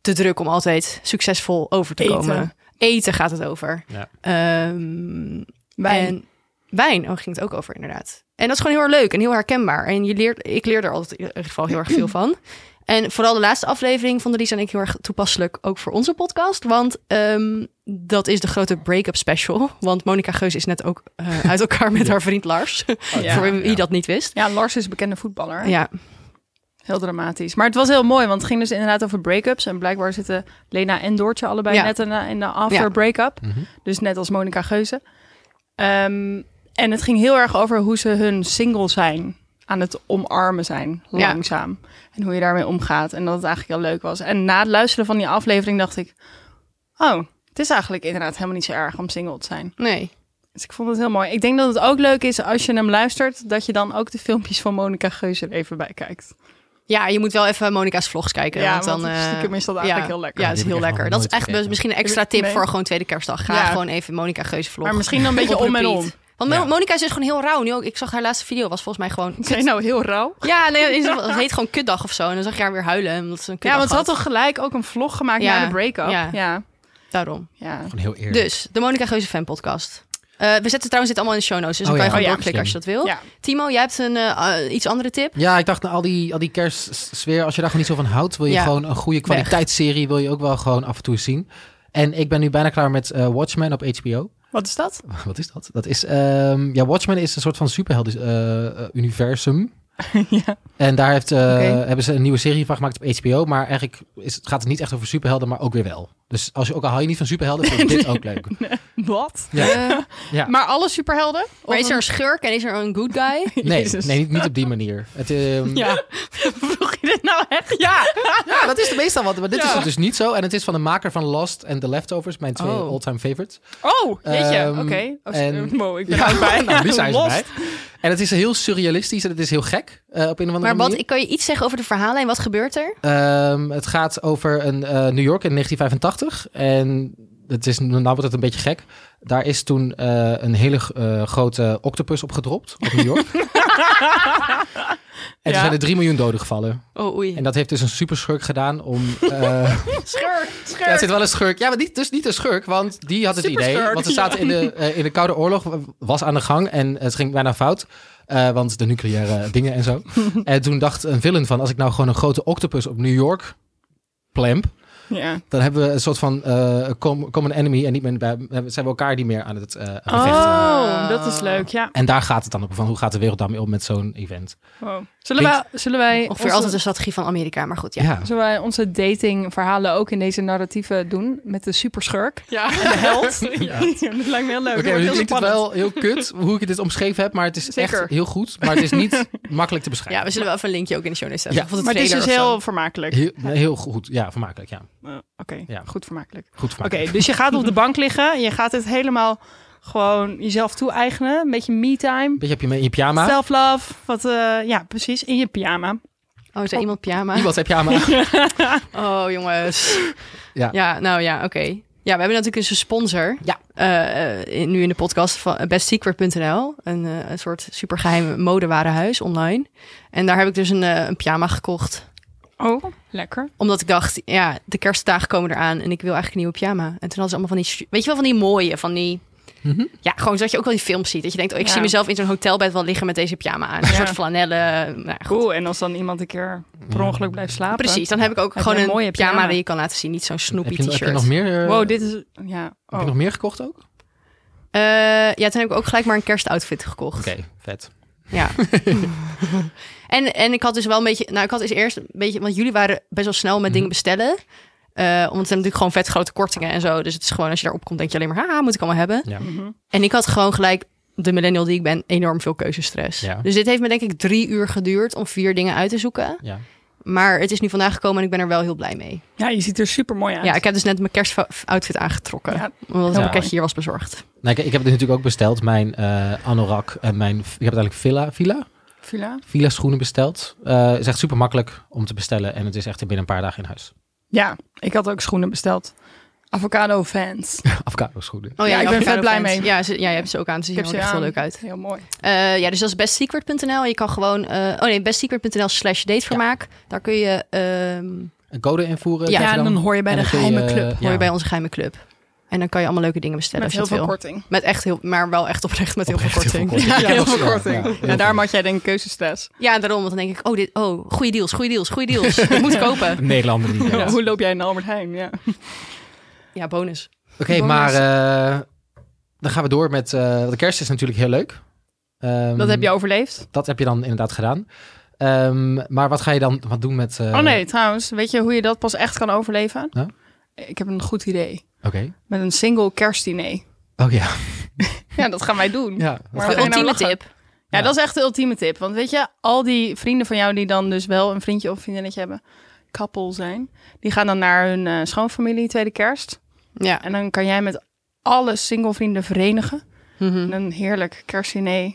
Speaker 3: de druk om altijd succesvol over te
Speaker 1: Eten.
Speaker 3: komen. Eten gaat het over.
Speaker 2: Ja.
Speaker 3: Ehm,
Speaker 1: Wijn.
Speaker 3: En wijn oh, ging het ook over, inderdaad. En dat is gewoon heel erg leuk en heel herkenbaar. En je leert, ik leer er altijd in ieder geval heel erg
Speaker 1: [CLEARS THROAT]
Speaker 3: veel van. En vooral de laatste aflevering vonden Lisa en ik heel erg toepasselijk, ook voor onze podcast. Want ehm, dat is de grote break-up special. Want Monica Geus is net ook eh, uit
Speaker 2: [LAUGHS]
Speaker 3: elkaar met haar vriend Lars.
Speaker 1: ja.
Speaker 3: [LAUGHS] voor wie
Speaker 2: Ja.
Speaker 3: dat niet wist.
Speaker 1: Ja, Lars is bekende voetballer. hè?
Speaker 3: Ja,
Speaker 1: Heel dramatisch. Maar het was heel mooi, want het ging dus inderdaad over break-ups. En blijkbaar zitten Lena en Doortje allebei
Speaker 3: Ja.
Speaker 1: net in de, in de after
Speaker 3: Ja.
Speaker 1: break-up.
Speaker 2: Mhm.
Speaker 1: Dus net als Monica Geuze. Ehm, en het ging heel erg over hoe ze hun single zijn aan het omarmen zijn,
Speaker 3: Ja.
Speaker 1: langzaam. En hoe je daarmee omgaat. En dat het eigenlijk heel leuk was. En na het luisteren van die aflevering dacht ik... Oh, het is eigenlijk inderdaad helemaal niet zo erg om single te zijn.
Speaker 3: nee.
Speaker 1: Dus ik vond het heel mooi. Ik denk dat het ook leuk is als je hem luistert... dat je dan ook de filmpjes van Monica Geuze er even bij kijkt.
Speaker 3: Ja, je moet wel even Monica's vlogs kijken.
Speaker 1: Ja,
Speaker 3: want dan,
Speaker 1: want
Speaker 3: eh,
Speaker 1: stiekem is dat eigenlijk heel lekker.
Speaker 3: Ja,
Speaker 2: Ja,
Speaker 3: dat is
Speaker 2: die
Speaker 3: heel
Speaker 2: heb ik echt
Speaker 3: lekker.
Speaker 2: nog
Speaker 3: Dat is
Speaker 2: nooit
Speaker 3: echt
Speaker 2: gekeken.
Speaker 3: misschien een extra tip
Speaker 1: Nee.
Speaker 3: voor gewoon tweede kerstdag. Ga
Speaker 1: Ja.
Speaker 3: gewoon even Monica Geus vlog.
Speaker 1: Maar misschien dan een beetje
Speaker 3: [LAUGHS] op
Speaker 1: om en
Speaker 3: repeat.
Speaker 1: om.
Speaker 3: Want Mo-
Speaker 2: Ja.
Speaker 3: Monica is dus gewoon heel rauw. Nu ook, ik zag haar laatste video, was volgens mij gewoon... [LAUGHS]
Speaker 1: Zijn nou heel rauw?
Speaker 3: Ja, nee, is- het heet gewoon kutdag of zo. En dan zag je haar weer huilen, omdat ze een kutdag
Speaker 1: Ja, want ze had
Speaker 3: had.
Speaker 1: toch gelijk ook een vlog gemaakt
Speaker 3: Ja,
Speaker 1: na de break-up?
Speaker 3: ja.
Speaker 1: Ja. ja.
Speaker 3: Daarom.
Speaker 2: Gewoon heel eerlijk.
Speaker 3: Dus, de Monica Geuze fan podcast. Eh, we zetten trouwens dit allemaal in de show notes, dus
Speaker 2: Oh
Speaker 3: dan kan je
Speaker 2: ja.
Speaker 1: Oh
Speaker 3: gewoon
Speaker 1: ja.
Speaker 3: doorklikken als je dat wil.
Speaker 1: Ja.
Speaker 3: Timo, jij hebt een eh, eh, iets andere
Speaker 1: [LAUGHS]
Speaker 3: tip?
Speaker 2: Ja, ik dacht na al die, al die kerstsfeer, als je daar gewoon niet zo van houdt, wil je
Speaker 3: Ja.
Speaker 2: gewoon een goede kwaliteitsserie, wil je ook wel gewoon af en toe zien. En ik ben nu bijna klaar met eh, Watchmen op HBO.
Speaker 1: Wat is dat?
Speaker 2: [LAUGHS] Wat is dat? Dat is, ehm, ja, Watchmen is een soort van superhelden-universum.
Speaker 1: [LAUGHS] ja.
Speaker 2: En daar heeft, eh,
Speaker 3: Oké.
Speaker 2: hebben ze een nieuwe serie van gemaakt op HBO. Maar eigenlijk is, gaat het niet echt over superhelden, maar ook weer wel. Dus als je ook al hou je niet van superhelden,
Speaker 1: [LAUGHS]
Speaker 2: vind je dit ook leuk.
Speaker 1: Wat? [LAUGHS]
Speaker 2: Ja.
Speaker 3: Eh,
Speaker 2: Ja.
Speaker 1: Maar alle superhelden?
Speaker 3: maar
Speaker 1: Of
Speaker 3: is er een schurk en is er een good
Speaker 1: [LAUGHS]
Speaker 3: guy?
Speaker 2: Nee,
Speaker 1: Jezus.
Speaker 2: nee niet, niet op die manier. Het, ehm,
Speaker 1: Ja. [LAUGHS] Vroeg je dit nou echt? Ja.
Speaker 2: Ja, dat is de meestal wat. Maar dit
Speaker 1: Ja.
Speaker 2: is het dus niet zo. En het is van de maker van Lost en The Leftovers, mijn twee
Speaker 3: Oh.
Speaker 2: all-time favorites.
Speaker 1: Oh, jeetje.
Speaker 2: Ehm,
Speaker 1: Oké. Oh,
Speaker 2: en-
Speaker 1: Mo, ik ben
Speaker 2: Ja,
Speaker 1: er ook bij.
Speaker 2: [LAUGHS] nou,
Speaker 1: [LAUGHS]
Speaker 2: Lisa is
Speaker 1: Lost.
Speaker 2: erbij. En het is heel surrealistisch en het is heel gek eh, op een of andere
Speaker 3: Maar
Speaker 2: manier.
Speaker 3: wat, ik kan je iets zeggen over de verhalen en wat gebeurt er?
Speaker 2: Ehm, het gaat over een, eh, New York in 1985. En het is, nou wordt het een beetje gek. Daar is toen eh, een hele eh, grote octopus op gedropt op New York. en er
Speaker 1: Ja.
Speaker 2: zijn er 3 miljoen doden gevallen.
Speaker 3: Oh, oei.
Speaker 2: En dat heeft dus een superschurk gedaan om... eh,
Speaker 1: Schurk,
Speaker 2: Ja, er zit
Speaker 1: schurk.
Speaker 2: wel een schurk. Ja, maar niet, dus niet een schurk, want die had het
Speaker 1: Superschurk,
Speaker 2: idee. Want ze zaten in, de, eh, in de Koude Oorlog, eh, was aan de gang en het ging bijna fout. eh, want de nucleaire [LAUGHS] dingen en
Speaker 1: [LAUGHS]
Speaker 2: zo. En toen dacht een villain van, als ik nou gewoon een grote octopus op New York plemp,
Speaker 1: Ja.
Speaker 2: dan hebben we een soort van eh, com- common enemy en niet meer, bij- zijn we elkaar niet meer aan het eh, bevechten.
Speaker 1: Oh, dat is leuk. Ja.
Speaker 2: En daar gaat het dan op van, hoe gaat de wereld daarmee om met zo'n event?
Speaker 1: Wow. Zullen, wij, zullen wij
Speaker 3: Ongeveer
Speaker 1: onze-
Speaker 3: altijd de strategie van Amerika, maar goed, ja.
Speaker 1: Zullen wij onze datingverhalen ook in deze narratieven doen? Met de superschurk ja. en de held? [LAUGHS] Ja. Dat lijkt me heel leuk.
Speaker 2: Oké,
Speaker 1: Wordt
Speaker 2: nu
Speaker 1: heel
Speaker 2: klinkt het
Speaker 1: spannend.
Speaker 2: wel heel kut hoe ik dit omschreven heb, maar het is echt
Speaker 1: Zeker.
Speaker 2: heel goed. Maar het is
Speaker 1: [LAUGHS]
Speaker 2: niet makkelijk te beschrijven.
Speaker 3: Ja, we zullen wel even een linkje ook in de show notes zetten.
Speaker 2: Ja.
Speaker 3: Of van de
Speaker 1: Maar het is dus
Speaker 3: trailer of
Speaker 1: heel
Speaker 3: zo.
Speaker 1: vermakelijk.
Speaker 2: Heel, heel goed, ja, vermakelijk, ja.
Speaker 1: Eh, Oké,
Speaker 2: Ja.
Speaker 1: goed vermakelijk.
Speaker 2: Goed
Speaker 1: Oké,
Speaker 2: [LAUGHS] vermakelijk.
Speaker 1: dus je gaat op de bank liggen. Je gaat het helemaal gewoon jezelf toe-eigenen. Een beetje me-time.
Speaker 2: Een beetje heb je mee in je pyjama.
Speaker 1: Self-love. Wat, eh, ja, precies. In je pyjama.
Speaker 3: Oh, is er iemand pyjama?
Speaker 2: Iemand heb
Speaker 1: [LAUGHS]
Speaker 2: je aan
Speaker 3: Oh,
Speaker 2: [LAUGHS]
Speaker 3: jongens.
Speaker 2: Ja.
Speaker 3: Ja, nou ja, oké. Ja, we hebben natuurlijk dus een sponsor.
Speaker 2: Ja.
Speaker 3: Eh, eh, in- nu in de podcast van bestsecret.nl. Een, eh, een soort supergeheim modewarenhuis online. En daar heb ik dus een, eh, een pyjama gekocht.
Speaker 1: Oh, lekker.
Speaker 3: Omdat ik dacht, ja, de kerstdagen komen eraan. En ik wil eigenlijk een nieuwe pyjama. En toen hadden ze allemaal van die... stu- Weet je wel, van die mooie, van die...
Speaker 2: Mhm.
Speaker 3: Ja, gewoon zodat je ook wel die films ziet. Dat je denkt, oh, ik
Speaker 1: Ja.
Speaker 3: zie mezelf in zo'n hotelbed wel liggen met deze pyjama aan. Een
Speaker 1: Ja.
Speaker 3: soort flanellen. Nou, goed.
Speaker 1: Cool. En als dan iemand een keer per ongeluk blijft slapen.
Speaker 3: Precies, dan heb ik
Speaker 1: Heb
Speaker 3: ook
Speaker 1: je
Speaker 3: gewoon
Speaker 1: een
Speaker 3: een
Speaker 1: mooie
Speaker 3: pyjama,
Speaker 1: pyjama?
Speaker 3: die je kan laten zien. Niet zo'n
Speaker 2: heb,
Speaker 3: snoepy
Speaker 2: je, heb je
Speaker 3: t-shirt.
Speaker 2: nog meer, eh,
Speaker 1: Wow, dit is... Ja.
Speaker 2: heb
Speaker 1: Oh.
Speaker 2: je nog meer gekocht ook? Oké,
Speaker 3: Eh, ja, toen heb ik ook gelijk maar een kerstoutfit gekocht.
Speaker 2: vet.
Speaker 1: [LAUGHS]
Speaker 3: Ja. [LAUGHS] en, en ik had dus wel een beetje... Nou, ik had dus eerst een beetje... Want jullie waren best wel snel met
Speaker 1: Mhm.
Speaker 3: dingen bestellen. Eh, omdat het zijn natuurlijk gewoon vet grote kortingen en zo. Dus het is gewoon, als je daarop komt, denk je alleen maar... Haha, moet ik allemaal hebben.
Speaker 2: Ja.
Speaker 1: Mhm.
Speaker 3: En ik had gewoon gelijk, de millennial die ik ben, enorm veel keuzestress.
Speaker 2: Ja.
Speaker 3: Dus dit heeft me denk ik drie uur geduurd om vier dingen uit te zoeken.
Speaker 2: ja.
Speaker 3: Maar het is nu vandaag gekomen en ik ben er wel heel blij mee.
Speaker 1: Ja, je ziet er super mooi uit.
Speaker 3: Ja, ik heb dus net mijn kerstoutfit aangetrokken.
Speaker 1: Ja.
Speaker 3: Omdat het
Speaker 2: Ja.
Speaker 3: pakketje hier was bezorgd.
Speaker 2: Nou, ik, ik heb dit natuurlijk ook besteld, mijn eh anorak en mijn... Ik heb uiteindelijk Villa, Villa?
Speaker 1: Villa.
Speaker 2: Villa schoenen besteld. Eh is echt super makkelijk om te bestellen en het is echt binnen een paar dagen in huis. [LAUGHS]
Speaker 1: Ja, ik had ook schoenen besteld. Avocado [LAUGHS] fans.
Speaker 2: Avocado is goed. hè?
Speaker 3: Oh
Speaker 1: Ja, ik ben
Speaker 3: avocado
Speaker 1: vet blij
Speaker 3: fans.
Speaker 1: mee.
Speaker 3: Ja, ze- ja, je hebt ze ook aan. Ze
Speaker 1: Ik
Speaker 3: zien
Speaker 1: heb
Speaker 3: er
Speaker 1: ze
Speaker 3: ook echt
Speaker 1: aan.
Speaker 3: heel leuk uit.
Speaker 1: Heel mooi.
Speaker 3: Eh, ja, dus dat is bestsecret.nl. Je kan gewoon... eh, oh nee, bestsecret.nl slash datevermaak. Daar kun je... ehm,
Speaker 2: Een code invoeren.
Speaker 1: Ja,
Speaker 2: krijg je
Speaker 1: en dan hoor je bij
Speaker 2: en
Speaker 1: de
Speaker 2: dan kun
Speaker 1: geheime
Speaker 2: je,
Speaker 1: club.
Speaker 2: eh,
Speaker 3: hoor
Speaker 2: ja,
Speaker 3: je bij onze geheime club. En dan kan je allemaal leuke dingen bestellen
Speaker 1: Met heel
Speaker 3: als je
Speaker 1: veel
Speaker 3: het wil.
Speaker 1: korting.
Speaker 3: Met echt heel... Maar wel echt oprecht met heel veel
Speaker 2: Oprecht heel veel
Speaker 3: korting.
Speaker 1: [LAUGHS]
Speaker 2: korting.
Speaker 1: Ja,
Speaker 2: Ja,
Speaker 1: heel
Speaker 2: dat is
Speaker 1: veel
Speaker 2: wel,
Speaker 1: korting.
Speaker 2: ja,
Speaker 1: Ja,
Speaker 2: heel
Speaker 1: daarom
Speaker 2: veel.
Speaker 1: had jij denk ik keuzestress.
Speaker 3: Ja, daarom. Want dan denk ik, oh, dit, oh, goede deals, goede deals, goede [LAUGHS] deals. ik moet kopen.
Speaker 2: Een Nederlander die. ja.
Speaker 1: [LAUGHS] Hoe loop jij in de Albert Heijn? Ja.
Speaker 3: Ja, bonus.
Speaker 2: Oké, maar eh, dan gaan we door met... eh, want de kerst is natuurlijk heel leuk. Ehm,
Speaker 1: Dat heb je overleefd.
Speaker 2: Dat heb je dan inderdaad gedaan. Ehm, maar wat ga je dan wat doen met... eh,
Speaker 1: oh nee, trouwens. Weet je hoe je dat pas echt kan overleven?
Speaker 2: Ja?
Speaker 1: Ik heb een goed idee.
Speaker 2: Oké.
Speaker 1: Met een single kerstdiner.
Speaker 2: Oh ja.
Speaker 1: Ja, dat gaan wij doen.
Speaker 2: [LAUGHS] ja.
Speaker 1: Maar-
Speaker 3: De
Speaker 1: ga je nou
Speaker 3: ultieme
Speaker 1: lachen?
Speaker 3: tip.
Speaker 1: Ja,
Speaker 2: Ja.
Speaker 1: dat is echt de ultieme tip. Want weet je, al die vrienden van jou die dan dus wel een vriendje of vriendinnetje hebben, koppel zijn, die gaan dan naar hun eh, schoonfamilie tweede kerst.
Speaker 3: Ja.
Speaker 1: En dan kan jij met alle single vrienden verenigen.
Speaker 3: Mhm.
Speaker 1: En een heerlijk kerstdiner.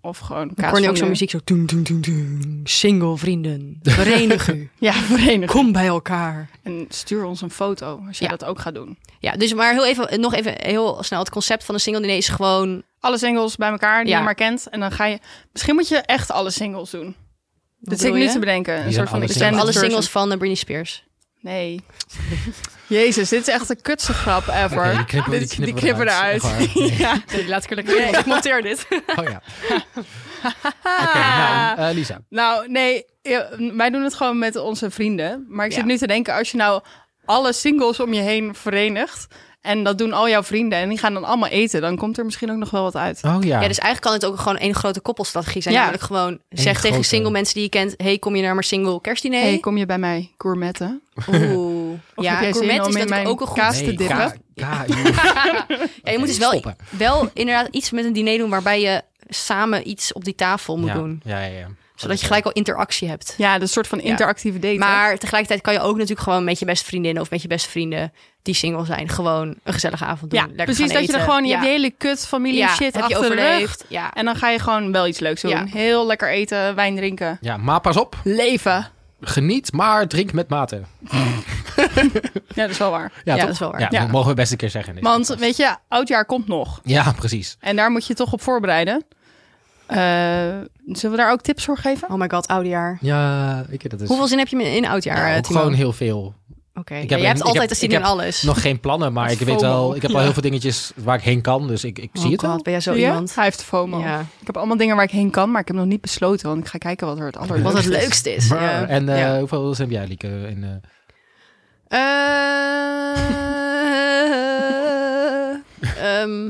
Speaker 1: Of gewoon
Speaker 3: Ik
Speaker 1: kaas
Speaker 3: hoor nu
Speaker 1: fondue.
Speaker 3: ook zo'n muziek zo... Doen, doen, doen, doen. Single vrienden. Verenig [LAUGHS] u.
Speaker 1: Ja, [LAUGHS] verenigen.
Speaker 3: Kom bij elkaar.
Speaker 1: En stuur ons een foto als je
Speaker 3: Ja.
Speaker 1: dat ook gaat doen.
Speaker 3: Ja, dus maar heel even, nog even heel snel. Het concept van een single diner is gewoon...
Speaker 1: Alle singles bij elkaar die
Speaker 3: Ja.
Speaker 1: je maar kent. En dan ga je... Misschien moet je echt alle singles doen.
Speaker 3: Wat
Speaker 1: Dat zit ik
Speaker 3: bedoel
Speaker 1: nu
Speaker 3: je?
Speaker 1: te bedenken. Een
Speaker 2: zijn
Speaker 1: soort van
Speaker 2: alle singles.
Speaker 1: extended
Speaker 3: Alle
Speaker 1: version.
Speaker 3: singles van eh, Britney Spears.
Speaker 1: Nee. [LAUGHS] Jezus, dit is echt de kutste grap ever.
Speaker 2: Oké, die knippen-
Speaker 1: Dit-
Speaker 2: die knippen
Speaker 1: knippen
Speaker 2: eruit.
Speaker 1: eruit.
Speaker 2: Echt waar.
Speaker 1: [LAUGHS] ja.
Speaker 3: laat ik lekker [LAUGHS] Ik monteer dit.
Speaker 2: Oh ja. Oké,
Speaker 1: Ah.
Speaker 2: nou, eh, Lisa.
Speaker 1: Nou, nee, ja, wij doen het gewoon met onze vrienden. Maar ik zit
Speaker 3: Ja.
Speaker 1: nu te denken, als je nou alle singles om je heen verenigt... en dat doen al jouw vrienden en die gaan dan allemaal eten... dan komt er misschien ook nog wel wat uit.
Speaker 2: Oh ja.
Speaker 3: Ja, dus eigenlijk kan het ook gewoon één grote koppelstrategie zijn.
Speaker 1: Ja.
Speaker 3: Namelijk gewoon zeg tegen
Speaker 2: grote.
Speaker 3: single mensen die je kent... hey, kom je naar mijn single kerstdiner?
Speaker 1: hey, kom je bij mij gourmetten?
Speaker 3: Oeh.
Speaker 1: [LAUGHS] Of
Speaker 3: ja,
Speaker 1: heb jij zin
Speaker 3: gourmet
Speaker 1: om
Speaker 3: is
Speaker 1: in
Speaker 3: natuurlijk
Speaker 1: mijn
Speaker 3: ook een goed...
Speaker 1: kaas te
Speaker 2: Nee,
Speaker 1: dippen?
Speaker 2: ka- ka- joh.
Speaker 3: Ja, je moet dus wel,
Speaker 2: stoppen.
Speaker 3: wel inderdaad iets met een diner doen... waarbij je samen iets op die tafel moet
Speaker 2: ja.
Speaker 3: doen.
Speaker 2: Ja, ja, ja.
Speaker 3: Zodat je gelijk al interactie hebt.
Speaker 1: Ja, dat soort van interactieve daten.
Speaker 3: Maar tegelijkertijd kan je ook natuurlijk gewoon met je beste vriendinnen... of met je beste vrienden die single zijn... gewoon een gezellige avond doen.
Speaker 1: ja,
Speaker 3: Lekker
Speaker 1: precies
Speaker 3: gaan
Speaker 1: dat je er
Speaker 3: eten.
Speaker 1: gewoon je
Speaker 3: Ja.
Speaker 1: hebt die hele kut familie
Speaker 3: Ja,
Speaker 1: shit
Speaker 3: heb je
Speaker 1: achter de rug.
Speaker 3: overleefd. Ja.
Speaker 1: En dan ga je gewoon wel iets leuks doen.
Speaker 3: Ja.
Speaker 1: Heel lekker eten, wijn drinken.
Speaker 2: Ja, maar pas op.
Speaker 1: Leven.
Speaker 2: Geniet, maar drink met mate.
Speaker 1: Ja, dat is wel waar.
Speaker 3: Ja,
Speaker 2: toch?
Speaker 3: dat is wel waar.
Speaker 2: Ja,
Speaker 1: Ja.
Speaker 2: dat mogen we best een keer zeggen. in deze
Speaker 1: Want
Speaker 2: podcast.
Speaker 1: weet je, oudjaar komt nog.
Speaker 2: Ja, precies.
Speaker 1: En daar moet je je toch op voorbereiden. Eh, zullen we daar ook tips voor geven?
Speaker 3: Oh my god, oudejaar.
Speaker 2: Ja, ik, dat is...
Speaker 3: Hoeveel zin heb je in oudjaar,
Speaker 2: Ja,
Speaker 3: eh,
Speaker 2: ook
Speaker 3: Timo?
Speaker 2: gewoon heel veel.
Speaker 3: Oké,
Speaker 2: Ik
Speaker 3: ja,
Speaker 2: heb
Speaker 3: jij hebt
Speaker 2: een- ik
Speaker 3: altijd
Speaker 2: heb-
Speaker 3: te zien
Speaker 2: ik
Speaker 3: in
Speaker 2: heb
Speaker 3: alles.
Speaker 2: Nog geen plannen, maar ik weet
Speaker 1: FOMO.
Speaker 2: wel... Ik heb al
Speaker 1: Ja.
Speaker 2: heel veel dingetjes waar ik heen kan, dus ik, ik zie
Speaker 3: oh
Speaker 2: het
Speaker 3: god,
Speaker 2: wel.
Speaker 3: ben jij zo
Speaker 1: Zie je?
Speaker 3: iemand?
Speaker 1: Hij heeft FOMO.
Speaker 3: Ja.
Speaker 1: Ik heb allemaal dingen waar ik heen kan, maar ik heb nog niet besloten. Want ik ga kijken wat er het allerleukste
Speaker 3: [LAUGHS] Wat het
Speaker 1: is. [LAUGHS]
Speaker 3: leukste is. Ja.
Speaker 2: En eh,
Speaker 3: Ja.
Speaker 2: hoeveel zin heb jij, Lieke? In, eh,
Speaker 3: Eh, [LAUGHS] ehm,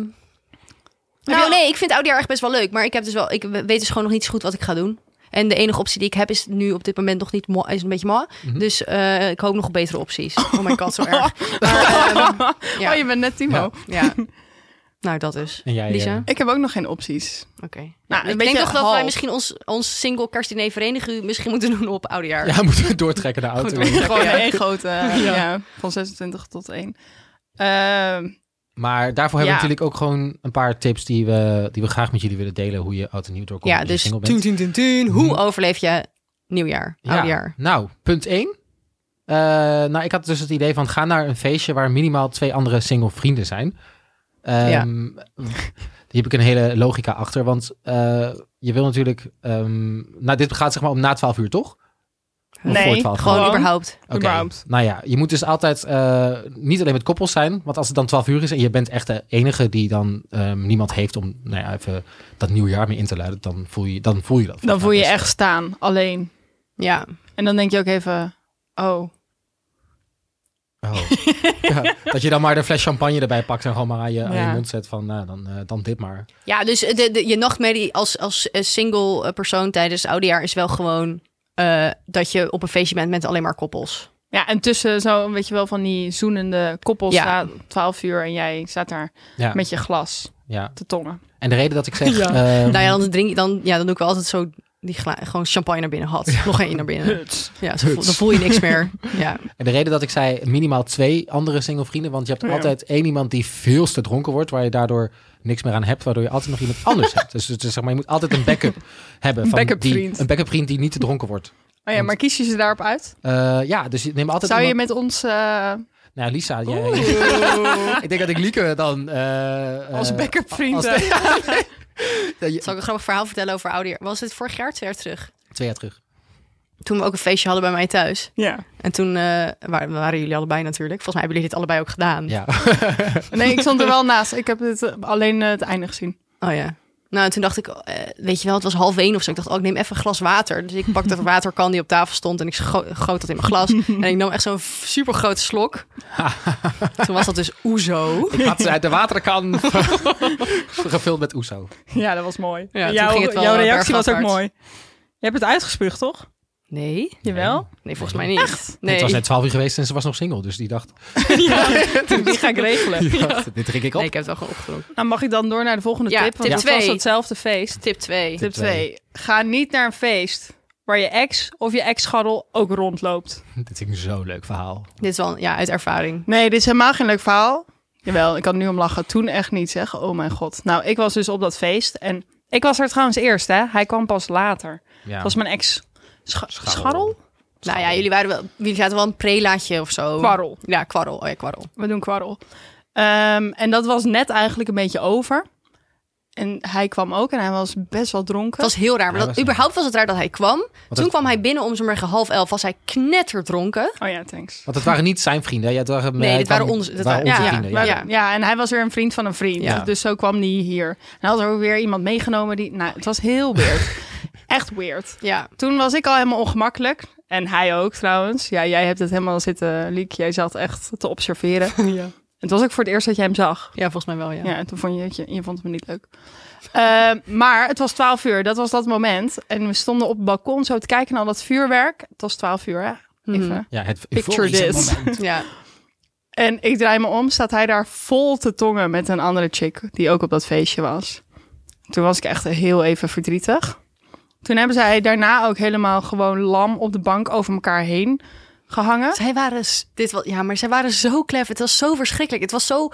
Speaker 1: Nou-
Speaker 3: nou, nee, ik vind oudjaar echt best wel leuk. Maar ik, heb dus wel, ik weet dus gewoon nog niet zo goed wat ik ga doen. En de enige optie die ik heb is nu op dit moment nog niet mo- is een beetje ma.
Speaker 2: Mhm.
Speaker 3: Dus eh, ik hoop nog op betere [LAUGHS] opties. Oh my god, zo [LAUGHS] erg. Maar, ehm, ja.
Speaker 1: Oh, je bent net Timo.
Speaker 2: Ja.
Speaker 3: ja. [LAUGHS] Nou, dat is.
Speaker 2: en jij,
Speaker 3: Lisa?
Speaker 2: eh,
Speaker 1: Ik heb ook nog geen opties.
Speaker 3: Oké.
Speaker 1: Nou,
Speaker 3: Ja,
Speaker 1: een
Speaker 3: ik
Speaker 1: beetje
Speaker 3: denk toch dat
Speaker 1: half.
Speaker 3: wij misschien ons, ons single kerstdiner verenigen misschien moeten doen op oudejaar.
Speaker 2: eh, [LAUGHS] ja, moeten we doortrekken naar auto.
Speaker 1: Gewoon
Speaker 3: Ja.
Speaker 1: één grote, eh, ja. van 26 tot 1. Ehm,
Speaker 2: Maar daarvoor hebben
Speaker 1: Ja.
Speaker 2: we natuurlijk ook gewoon een paar tips die we, die we graag met jullie willen delen. Hoe je oud en nieuw doorkomt.
Speaker 3: Ja,
Speaker 2: als je
Speaker 3: dus
Speaker 2: single bent.
Speaker 3: Hoe overleef je nieuwjaar,
Speaker 2: Ja.
Speaker 3: oudejaar?
Speaker 2: Nou, punt 1. nou, ik had dus het idee van ga naar een feestje waar minimaal twee andere single vrienden zijn. Ehm, [LAUGHS]
Speaker 3: Ja.
Speaker 2: Hier heb ik een hele logica achter. Want eh, je wil natuurlijk. ehm, nou, dit gaat zeg maar om na 12 uur, toch? Of
Speaker 1: Nee,
Speaker 2: voor 12 uur?
Speaker 3: Gewoon
Speaker 1: Gewoon.
Speaker 3: überhaupt.
Speaker 2: Oké.
Speaker 1: überhaupt.
Speaker 2: Nou ja, je moet dus altijd eh, niet alleen met koppels zijn. Want als het dan 12 uur is en je bent echt de enige die dan ehm, niemand heeft om nou ja, even dat nieuwjaar mee in te luiden, dan voel je, dan voel je dat.
Speaker 1: dan voel je
Speaker 2: Dus-
Speaker 1: echt staan, alleen.
Speaker 3: Ja.
Speaker 1: En dan denk je ook even, oh,
Speaker 2: Oh. Ja, dat je dan maar de fles champagne erbij pakt en gewoon maar aan je, aan je
Speaker 1: Ja.
Speaker 2: mond zet van, nou, dan, eh, dan dit maar.
Speaker 3: Ja, dus de, de, je nachtmerrie als, als eh, single eh, persoon tijdens oudejaar is wel gewoon eh, dat je op een feestje bent met alleen maar koppels.
Speaker 1: Ja, en tussen zo, weet je wel, van die zoenende koppels
Speaker 3: Ja.
Speaker 1: staat 12 uur en jij staat daar
Speaker 2: Ja,
Speaker 1: met je glas
Speaker 2: ja.
Speaker 1: te tongen.
Speaker 2: En de reden dat ik zeg,
Speaker 1: Ja.
Speaker 2: ehm,
Speaker 3: Nou ja, dan drink je dan, ja, dan doe ik wel altijd zo die gla- gewoon champagne naar binnen had. Nog één naar
Speaker 1: [LAUGHS]
Speaker 3: binnen. Ja, zo voel- dan voel je niks meer. Ja.
Speaker 2: en de reden dat ik zei minimaal twee andere single vrienden, want je hebt
Speaker 1: Ja.
Speaker 2: altijd één iemand die veel te dronken wordt, waar je daardoor niks meer aan hebt, waardoor je altijd nog iemand
Speaker 1: [LAUGHS]
Speaker 2: anders hebt. Dus, dus zeg maar, je moet altijd een backup hebben.
Speaker 1: Een
Speaker 2: van
Speaker 1: backup
Speaker 2: die,
Speaker 1: vriend.
Speaker 2: Een backup vriend die niet te dronken wordt.
Speaker 1: Oh ja, maar kies je ze daarop uit?
Speaker 2: Eh, ja, dus je neemt altijd
Speaker 1: Zou je
Speaker 2: iemand-
Speaker 1: met ons eh,
Speaker 2: Nou, Lisa, jij,
Speaker 1: Oeh.
Speaker 2: [LAUGHS] ik denk dat ik Lieke dan... eh, eh,
Speaker 1: Als backup vriend. [LAUGHS]
Speaker 2: als-
Speaker 1: hè?
Speaker 2: ja, je-
Speaker 3: Zal ik een grappig verhaal vertellen over ouder? Was het vorig jaar, twee jaar terug?
Speaker 2: Twee jaar terug.
Speaker 3: Toen we ook een feestje hadden bij mij thuis.
Speaker 1: Ja.
Speaker 3: En toen eh, wa- waren jullie allebei natuurlijk. Volgens mij hebben jullie dit allebei ook gedaan.
Speaker 2: Ja.
Speaker 1: Nee, ik stond er wel naast. Ik heb het, eh, alleen eh, het einde gezien.
Speaker 3: Oh ja. Nou, en toen dacht ik, eh, weet je wel, het was half één of zo. Ik dacht, oh, ik neem even een glas water. Dus ik pakte dat waterkan die op tafel stond en ik scho- goot dat in mijn
Speaker 2: [LAUGHS]
Speaker 3: glas. en ik nam echt zo'n super grote slok. toen was dat dus oezo.
Speaker 2: Ik had ze uit de waterkan [LAUGHS] gevuld met oezo.
Speaker 1: Ja, dat was mooi.
Speaker 3: Ja, toen
Speaker 1: jouw
Speaker 3: ging het wel,
Speaker 1: jouw
Speaker 3: eh,
Speaker 1: reactie was ook
Speaker 3: bergafwaarts.
Speaker 1: mooi. Je hebt het uitgespuugd, toch?
Speaker 3: Nee,
Speaker 1: Jawel.
Speaker 3: nee, volgens mij niet. Nee,
Speaker 2: Het was net 12 uur geweest en ze was nog single, dus die
Speaker 1: [LAUGHS]
Speaker 2: dacht,
Speaker 3: [LAUGHS]
Speaker 1: Die ga ik regelen.
Speaker 2: [LAUGHS] dit drink ik op.
Speaker 3: nee, ik heb het wel gewoon opgedronken.
Speaker 1: Nou, mag ik dan door naar de volgende
Speaker 3: Ja,
Speaker 1: tip? Want
Speaker 3: tip
Speaker 1: dat
Speaker 3: twee.
Speaker 1: was hetzelfde feest.
Speaker 3: Tip 2.
Speaker 1: Tip
Speaker 2: twee.
Speaker 1: 2. Ga niet naar een feest waar je ex of je ex-scharrel ook rondloopt.
Speaker 2: Dit is een zo leuk verhaal.
Speaker 3: Dit is wel, ja, uit ervaring.
Speaker 1: Nee, dit is helemaal geen leuk verhaal. Jawel, ik kan er nu om lachen. Toen echt niet zeggen. Oh mijn god. Nou, ik was dus op dat feest. En ik was er trouwens eerst, hè. Hij kwam pas later.
Speaker 2: Ja.
Speaker 1: Dat was mijn ex. Scha-
Speaker 2: Scharrel.
Speaker 1: scharrel?
Speaker 3: Nou ja, jullie, waren wel, jullie zaten wel een prelaatje of
Speaker 2: Oh.
Speaker 3: zo.
Speaker 1: Kwarrel.
Speaker 3: Ja, kwarrel. Oh ja, kwarrel.
Speaker 1: We doen kwarrel. Ehm, en dat was net eigenlijk een beetje over. En hij kwam ook en hij was best wel dronken.
Speaker 3: Het was heel raar. Maar
Speaker 2: Ja,
Speaker 3: dat,
Speaker 2: was-
Speaker 3: überhaupt was het raar dat hij kwam. Toen
Speaker 2: het-
Speaker 3: kwam hij binnen om zo'n morgen half elf. Was hij knetterdronken.
Speaker 1: Oh ja, thanks.
Speaker 2: Want het waren niet zijn vrienden. hè? Ja, het waren,
Speaker 3: Nee,
Speaker 2: hij
Speaker 3: dit
Speaker 2: kwam-
Speaker 3: waren onze- dat
Speaker 2: waren
Speaker 3: waren-
Speaker 2: onze
Speaker 3: ja,
Speaker 2: vrienden.
Speaker 1: Maar-
Speaker 2: Ja.
Speaker 1: ja. en hij was weer een vriend van een vriend.
Speaker 2: Ja.
Speaker 1: Dus zo kwam die hier. En hij had er ook weer iemand meegenomen die... Nou, het was heel
Speaker 2: [LAUGHS]
Speaker 1: weird. Echt weird.
Speaker 3: Ja.
Speaker 1: Toen was ik al helemaal ongemakkelijk. En hij ook trouwens. Ja, jij hebt het helemaal zitten, Liek. Jij zat echt te observeren.
Speaker 3: [LAUGHS] ja.
Speaker 1: Het was ook voor het eerst dat jij hem zag.
Speaker 3: Ja, volgens mij wel, ja.
Speaker 1: Ja, en toen vond je, het- je, je vond hem niet leuk. Eh, maar het was 12 uur. Dat was dat moment. En we stonden op het balkon zo te kijken naar dat vuurwerk. Het was 12 uur, hè? Even.
Speaker 3: Mhm.
Speaker 2: Ja, het
Speaker 1: Picture
Speaker 2: euforische
Speaker 1: this.
Speaker 2: moment.
Speaker 3: Ja.
Speaker 1: En ik draai me om, staat hij daar vol te tongen met een andere chick die ook op dat feestje was. Toen was ik echt heel even verdrietig. Toen hebben zij daarna ook helemaal gewoon lam op de bank over elkaar heen gehangen.
Speaker 3: Zij waren, s- dit was, ja, maar zij waren zo clever. Het was zo verschrikkelijk. Het was zo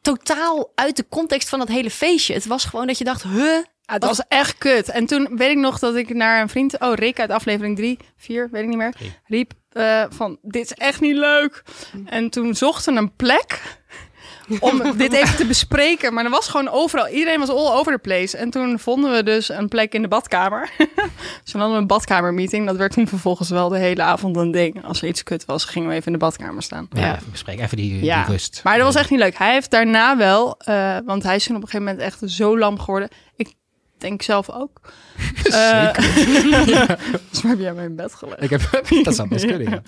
Speaker 3: totaal uit de context van dat hele feestje. Het was gewoon dat je dacht, huh?
Speaker 1: het Ah, was echt kut. En toen weet ik nog dat ik naar een vriend, oh Rick uit aflevering 3, 4, weet ik niet meer,
Speaker 2: Drie.
Speaker 1: riep eh, van dit is echt niet leuk. En toen zochten we een plek om dit even te bespreken. Maar er was gewoon overal, iedereen was all over the place. En toen vonden we dus een plek in de badkamer. [LAUGHS] Dus toen hadden we een badkamermeeting. Dat werd toen vervolgens wel de hele avond een ding. Als er iets kut was, gingen we even in de badkamer staan.
Speaker 2: Ja,
Speaker 3: [LAUGHS] Ja.
Speaker 2: even bespreken. Even die,
Speaker 1: Ja.
Speaker 2: die rust.
Speaker 1: Maar dat was echt niet leuk. Hij heeft daarna wel, eh, want hij is toen op een gegeven moment echt zo lam geworden. Ik denk zelf ook. Eh, [LAUGHS] Volgens mij heb jij mij in bed gelegd.
Speaker 2: Ik heb... dat zou best kunnen, ja.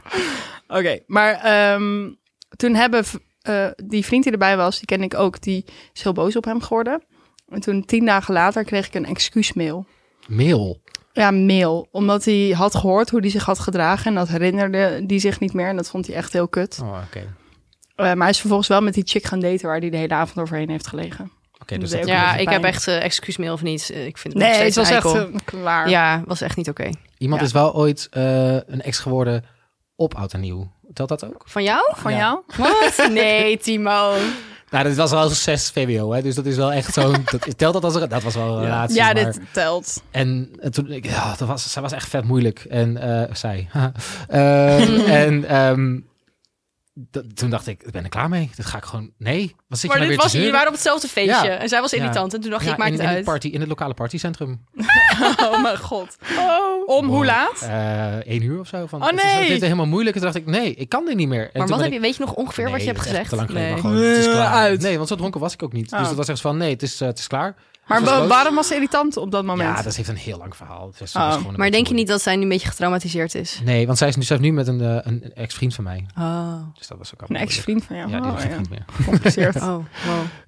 Speaker 1: Oké, maar ehm, toen hebben v- eh, die vriend die erbij was, die ken ik ook, die is heel boos op hem geworden. En toen tien dagen later kreeg ik een excuusmail.
Speaker 2: Mail.
Speaker 1: Ja, mail. Omdat hij had gehoord hoe hij zich had gedragen. En dat herinnerde hij zich niet meer. En dat vond hij echt heel kut.
Speaker 2: Oh, oké.
Speaker 1: Eh, maar hij is vervolgens wel met die chick gaan daten waar hij de hele avond overheen heeft gelegen.
Speaker 2: Oké, dus
Speaker 1: Nee,
Speaker 2: dat-
Speaker 1: ook een
Speaker 3: Ja,
Speaker 1: beetje
Speaker 3: ik heb
Speaker 1: pijn.
Speaker 3: echt eh, excuusmail of niet. Eh, Ik vind het nog
Speaker 1: Nee, het
Speaker 3: steeds
Speaker 1: was
Speaker 3: een
Speaker 1: echt
Speaker 3: eikel.
Speaker 1: eh, klaar.
Speaker 3: Ja, was echt niet oké.
Speaker 2: iemand
Speaker 1: Ja.
Speaker 2: is wel ooit eh, een ex geworden op Oud en Nieuw. Telt dat ook?
Speaker 3: Van jou?
Speaker 1: Van
Speaker 2: Ja.
Speaker 1: jou?
Speaker 3: Wat? [LAUGHS] Nee, Timo.
Speaker 2: Nou, dat was wel 6 VWO, hè? dus dat is wel echt zo'n... dat is- telt dat als een... Dat was wel een Ja. relatie,
Speaker 1: Ja,
Speaker 2: maar-
Speaker 1: dit telt. [LAUGHS]
Speaker 2: En eh, toen, ik, ja, dat was, zij was echt vet moeilijk. En eh, zij. [LAUGHS]
Speaker 3: [LAUGHS]
Speaker 2: Eh, en ehm, dat- toen dacht ik, ik ben er klaar mee. Dit ga ik gewoon. Nee, wat zit
Speaker 3: Maar
Speaker 2: je nou
Speaker 3: dit
Speaker 2: weer
Speaker 3: was,
Speaker 2: te
Speaker 3: jullie
Speaker 2: zeuren?
Speaker 3: waren op hetzelfde feestje.
Speaker 2: Ja.
Speaker 3: En zij was
Speaker 2: Ja.
Speaker 3: irritant. En toen dacht
Speaker 2: Ja,
Speaker 3: ik, maakt
Speaker 2: in,
Speaker 3: het
Speaker 2: in het
Speaker 3: uit.
Speaker 2: Party, in het lokale partycentrum.
Speaker 1: Oh mijn god.
Speaker 3: Oh.
Speaker 1: Om hoe
Speaker 2: Wow.
Speaker 1: laat?
Speaker 2: Eh één uur of zo. Van,
Speaker 1: Oh,
Speaker 2: het is-
Speaker 1: nee!
Speaker 2: Dit is helemaal moeilijk. En toen dacht ik, nee, ik kan dit niet meer. En
Speaker 3: Maar
Speaker 2: toen
Speaker 3: wat
Speaker 2: ben
Speaker 3: heb
Speaker 2: ik-
Speaker 3: je, weet je nog ongeveer wat je
Speaker 2: Nee,
Speaker 3: hebt
Speaker 2: dat is echt
Speaker 3: gezegd?
Speaker 2: te lang geleden,
Speaker 3: nee.
Speaker 2: maar gewoon, het is klaar.
Speaker 1: Uit.
Speaker 2: Nee, want zo dronken was ik ook niet.
Speaker 1: Oh.
Speaker 2: Dus dat was echt van, nee, het is, eh, het is klaar.
Speaker 1: Maar
Speaker 2: Ze was
Speaker 1: wa-
Speaker 2: boos.
Speaker 1: waarom was ze irritant op dat moment?
Speaker 2: Ja, dat heeft een heel lang verhaal. Het was-
Speaker 1: Oh.
Speaker 2: was gewoon een
Speaker 3: Maar denk je
Speaker 2: beetje
Speaker 3: niet dat zij nu een beetje getraumatiseerd is?
Speaker 2: moeilijk. Nee, want zij is nu, zij is nu met een, eh, een een ex-vriend van mij.
Speaker 3: Oh.
Speaker 2: Dus dat was ook al
Speaker 1: Een
Speaker 2: moeilijk.
Speaker 1: ex-vriend van jou.
Speaker 2: Ja, die
Speaker 1: Oh,
Speaker 2: was ook
Speaker 1: ja.
Speaker 2: niet meer.
Speaker 1: [LAUGHS] Gecompliceerd.
Speaker 3: Oh, wow.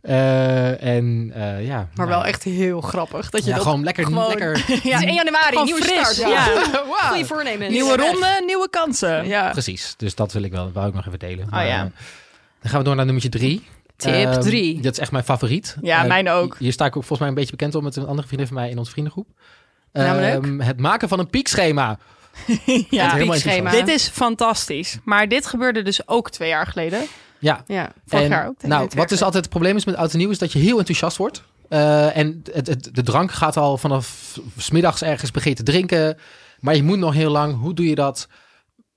Speaker 2: Eh, en eh, ja.
Speaker 3: Maar
Speaker 2: nou,
Speaker 3: wel echt heel grappig. Dat je
Speaker 2: ja,
Speaker 3: dat
Speaker 2: gewoon lekker.
Speaker 3: gewoon-
Speaker 2: lekker
Speaker 1: Ja.
Speaker 3: Het is 1 januari,
Speaker 1: Gewoon
Speaker 3: nieuwe
Speaker 1: fris,
Speaker 3: start.
Speaker 1: ja.
Speaker 3: [LAUGHS] Wow. Goeie voornemen.
Speaker 1: Nieuwe ronde, nieuwe kansen.
Speaker 3: [LAUGHS] Ja. Oh,
Speaker 2: precies. Dus dat wil ik wel. Wou ik nog even delen.
Speaker 1: ja.
Speaker 2: eh, dan gaan we door naar nummertje drie.
Speaker 3: Tip
Speaker 2: Ehm,
Speaker 3: drie.
Speaker 2: Dat is echt mijn favoriet.
Speaker 1: Ja,
Speaker 2: Eh,
Speaker 1: mijn ook.
Speaker 2: Hier sta ik ook volgens mij een beetje bekend om met een andere vriendin van mij in onze vriendengroep.
Speaker 3: Namelijk?
Speaker 2: Ehm, het maken van een piekschema.
Speaker 1: Ja.
Speaker 2: Het helemaal
Speaker 3: piekschema.
Speaker 2: interessant.
Speaker 1: Dit is fantastisch. Maar dit gebeurde dus ook twee jaar geleden.
Speaker 2: Ja.
Speaker 3: Ja.
Speaker 1: Vorig
Speaker 2: En,
Speaker 1: jaar ook. denk
Speaker 2: Nou,
Speaker 1: ik, twee
Speaker 2: wat
Speaker 1: jaar
Speaker 2: dus altijd het probleem is met oud en nieuw is dat je heel enthousiast wordt. Eh, en het, het, de drank gaat al vanaf smiddags ergens begin te drinken. Maar je moet nog heel lang. Hoe doe je dat?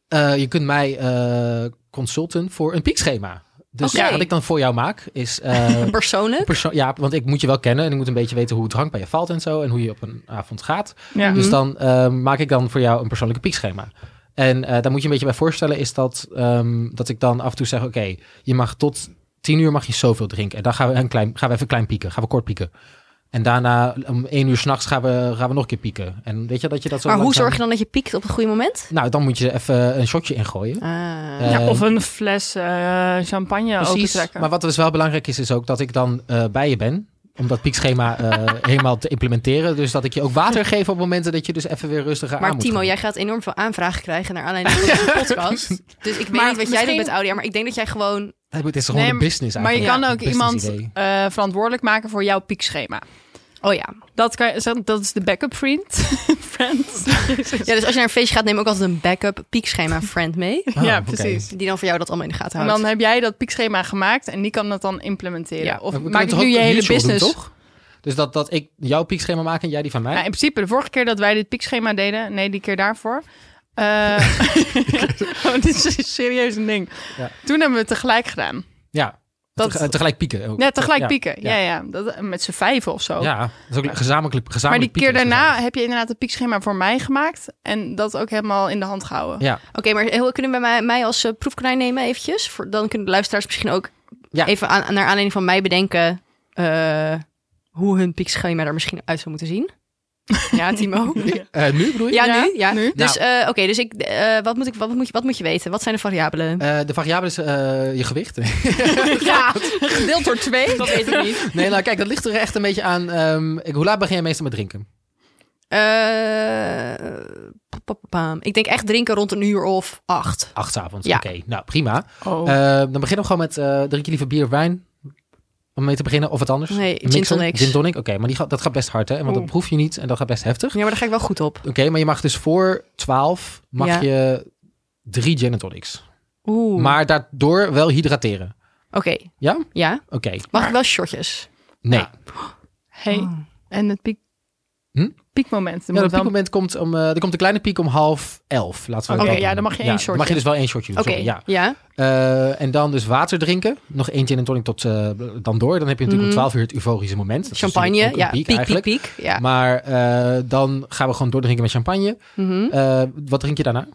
Speaker 2: eh, je kunt mij eh, consulten voor een piekschema. Dus
Speaker 3: Oké.
Speaker 2: wat ik dan voor jou maak is... eh,
Speaker 3: Personen?
Speaker 2: perso- ja, want ik moet je wel kennen en ik moet een beetje weten hoe het hangt bij je valt en zo. En hoe je op een avond gaat.
Speaker 1: Ja.
Speaker 3: Mhm.
Speaker 2: Dus dan eh, maak ik dan voor jou een persoonlijke piekschema. En eh, daar moet je een beetje bij voorstellen, is dat, ehm, dat ik dan af en toe zeg, oké, je mag tot tien uur mag je zoveel drinken. En dan gaan we, een klein, gaan we even klein pieken, gaan we kort pieken. En daarna om één uur s'nachts gaan we, gaan we nog een keer pieken. En weet je dat je dat zo
Speaker 3: Maar hoe
Speaker 2: langzaam-
Speaker 3: zorg je dan dat je piekt op het goede moment?
Speaker 2: Nou, dan moet je even een shotje ingooien.
Speaker 3: Ah.
Speaker 2: Eh,
Speaker 1: Ja, of een fles eh, champagne
Speaker 2: Precies,
Speaker 1: opentrekken.
Speaker 2: maar wat dus wel belangrijk is, is ook dat ik dan eh, bij je ben. Om dat piekschema
Speaker 3: [LAUGHS]
Speaker 2: eh, helemaal te implementeren. Dus dat ik je ook water geef op momenten dat je dus even weer rustiger aan
Speaker 3: maar
Speaker 2: moet
Speaker 3: Timo,
Speaker 2: gaan.
Speaker 3: jij gaat enorm veel aanvragen krijgen naar aanleiding
Speaker 2: [LAUGHS]
Speaker 3: van deze podcast. Dus ik weet
Speaker 1: Maar
Speaker 3: niet wat jij
Speaker 1: misschien-
Speaker 3: doet met Audia, maar ik denk dat jij gewoon...
Speaker 2: Het is gewoon
Speaker 1: Nee,
Speaker 2: een business
Speaker 1: Maar je
Speaker 2: eigenlijk.
Speaker 1: kan
Speaker 2: Een
Speaker 1: ook iemand
Speaker 2: businessidee.
Speaker 1: eh, verantwoordelijk maken voor jouw piekschema.
Speaker 3: Oh ja.
Speaker 1: Dat, kan, je- dat is de backup friend. [LAUGHS] friend.
Speaker 3: ja. Dus als je naar een feestje gaat, neem ook altijd een backup piekschema friend mee.
Speaker 1: [LAUGHS]
Speaker 2: Ah,
Speaker 1: ja,
Speaker 2: oké.
Speaker 1: precies.
Speaker 3: Die dan voor jou dat allemaal in de gaten
Speaker 1: En
Speaker 2: Nou,
Speaker 3: houdt.
Speaker 1: dan heb jij dat piekschema gemaakt en die kan dat dan implementeren.
Speaker 3: Ja,
Speaker 1: of
Speaker 2: Maar we
Speaker 1: maak
Speaker 2: kunnen
Speaker 1: ik
Speaker 2: toch
Speaker 1: nu
Speaker 2: ook
Speaker 1: je
Speaker 2: een
Speaker 1: hele
Speaker 2: mutual doen,
Speaker 1: business.
Speaker 2: toch? Dus dat, dat ik jouw piekschema maak en jij die van mij?
Speaker 1: Ja, in principe, de vorige keer dat wij dit piekschema deden, nee, die keer daarvoor. eh,
Speaker 2: [LAUGHS]
Speaker 1: [LAUGHS] oh, dit is serieus een ding.
Speaker 2: Ja.
Speaker 1: Toen hebben we het tegelijk gedaan.
Speaker 2: ja,
Speaker 1: Dat-
Speaker 2: teg- eh, tegelijk pieken. Ook.
Speaker 1: Ja, tegelijk
Speaker 2: Ja,
Speaker 1: pieken. Ja,
Speaker 2: ja.
Speaker 1: ja. Dat, met z'n vijven of zo.
Speaker 2: Ja, dat is ook gezamenlijk, gezamenlijk
Speaker 1: maar die keer
Speaker 2: pieken is
Speaker 1: daarna heb je inderdaad een piekschema voor mij gemaakt. En dat ook helemaal in de hand gehouden.
Speaker 2: Ja.
Speaker 3: Oké, maar heel- kunnen we mij, mij als eh, proefkonijn nemen eventjes? Voor, dan kunnen de luisteraars misschien ook
Speaker 2: Ja.
Speaker 3: even aan, naar aanleiding van mij bedenken... eh, hoe hun piekschema er misschien uit zou moeten
Speaker 1: [LAUGHS]
Speaker 3: zien. Ja, Timo.
Speaker 2: Eh, nu bedoel je?
Speaker 3: Ja,
Speaker 1: Ja,
Speaker 3: nu? Ja.
Speaker 1: nu.
Speaker 3: Dus,
Speaker 2: Nou.
Speaker 3: eh, oké, dus ik, eh, wat, moet ik, wat, moet je, wat moet je weten? Wat zijn de variabelen?
Speaker 2: Eh, de variabele is eh, je gewicht.
Speaker 1: [LAUGHS]
Speaker 2: [LAUGHS]
Speaker 3: [LAUGHS]
Speaker 1: Ja, gedeeld door twee.
Speaker 3: Dat weet ik niet.
Speaker 2: nee, nou kijk, dat ligt er echt een beetje aan. ehm, ik, hoe laat begin je meestal met drinken?
Speaker 3: Eh, ik denk echt drinken rond een uur of acht.
Speaker 2: Acht 's avonds.
Speaker 3: Ja.
Speaker 2: Oké, nou prima.
Speaker 1: Oh.
Speaker 2: Eh, dan beginnen we gewoon met eh drink je liever bier of wijn? Om mee te beginnen, of wat anders?
Speaker 3: Nee,
Speaker 2: Een
Speaker 3: gin
Speaker 2: mixer?
Speaker 3: tonics.
Speaker 2: Gin tonic, oké, maar die gaat, dat gaat best hard, hè? Want dat
Speaker 1: Oeh.
Speaker 2: proef je niet en dat gaat best heftig.
Speaker 3: Ja, maar daar ga ik wel goed op.
Speaker 2: Oké, maar je mag dus voor 12 mag
Speaker 3: Ja.
Speaker 2: je drie gin en tonics.
Speaker 3: Oeh.
Speaker 2: Maar daardoor wel hydrateren.
Speaker 3: Oké,
Speaker 2: Ja?
Speaker 3: ja.
Speaker 2: Oké.
Speaker 3: Mag ik wel shotjes?
Speaker 2: Nee.
Speaker 1: Ja, Hey. En het piek...
Speaker 2: Hm?
Speaker 1: piekmoment. Dan moet
Speaker 2: Ja, dat
Speaker 1: wel-
Speaker 2: piekmoment komt om... eh, er komt een kleine piek om half elf. Laten we
Speaker 1: Oké,
Speaker 2: dat
Speaker 1: ja, dan mag je één shotje.
Speaker 2: mag je dus wel één shotje. doen,
Speaker 3: Oké,
Speaker 2: sorry, ja.
Speaker 3: ja. ja.
Speaker 2: Eh, en dan dus water drinken. Nog één gin en tonic tot eh, dan door. Dan heb je natuurlijk om
Speaker 3: Mm.
Speaker 2: 12 uur het euforische moment. Dat is natuurlijk
Speaker 3: Champagne,
Speaker 2: ook
Speaker 3: ja.
Speaker 2: een
Speaker 3: Piek, piek, piek,
Speaker 2: eigenlijk.
Speaker 3: Ja.
Speaker 2: Maar eh, dan gaan we gewoon doordrinken met champagne.
Speaker 3: Mhm.
Speaker 2: Eh, wat drink je daarna?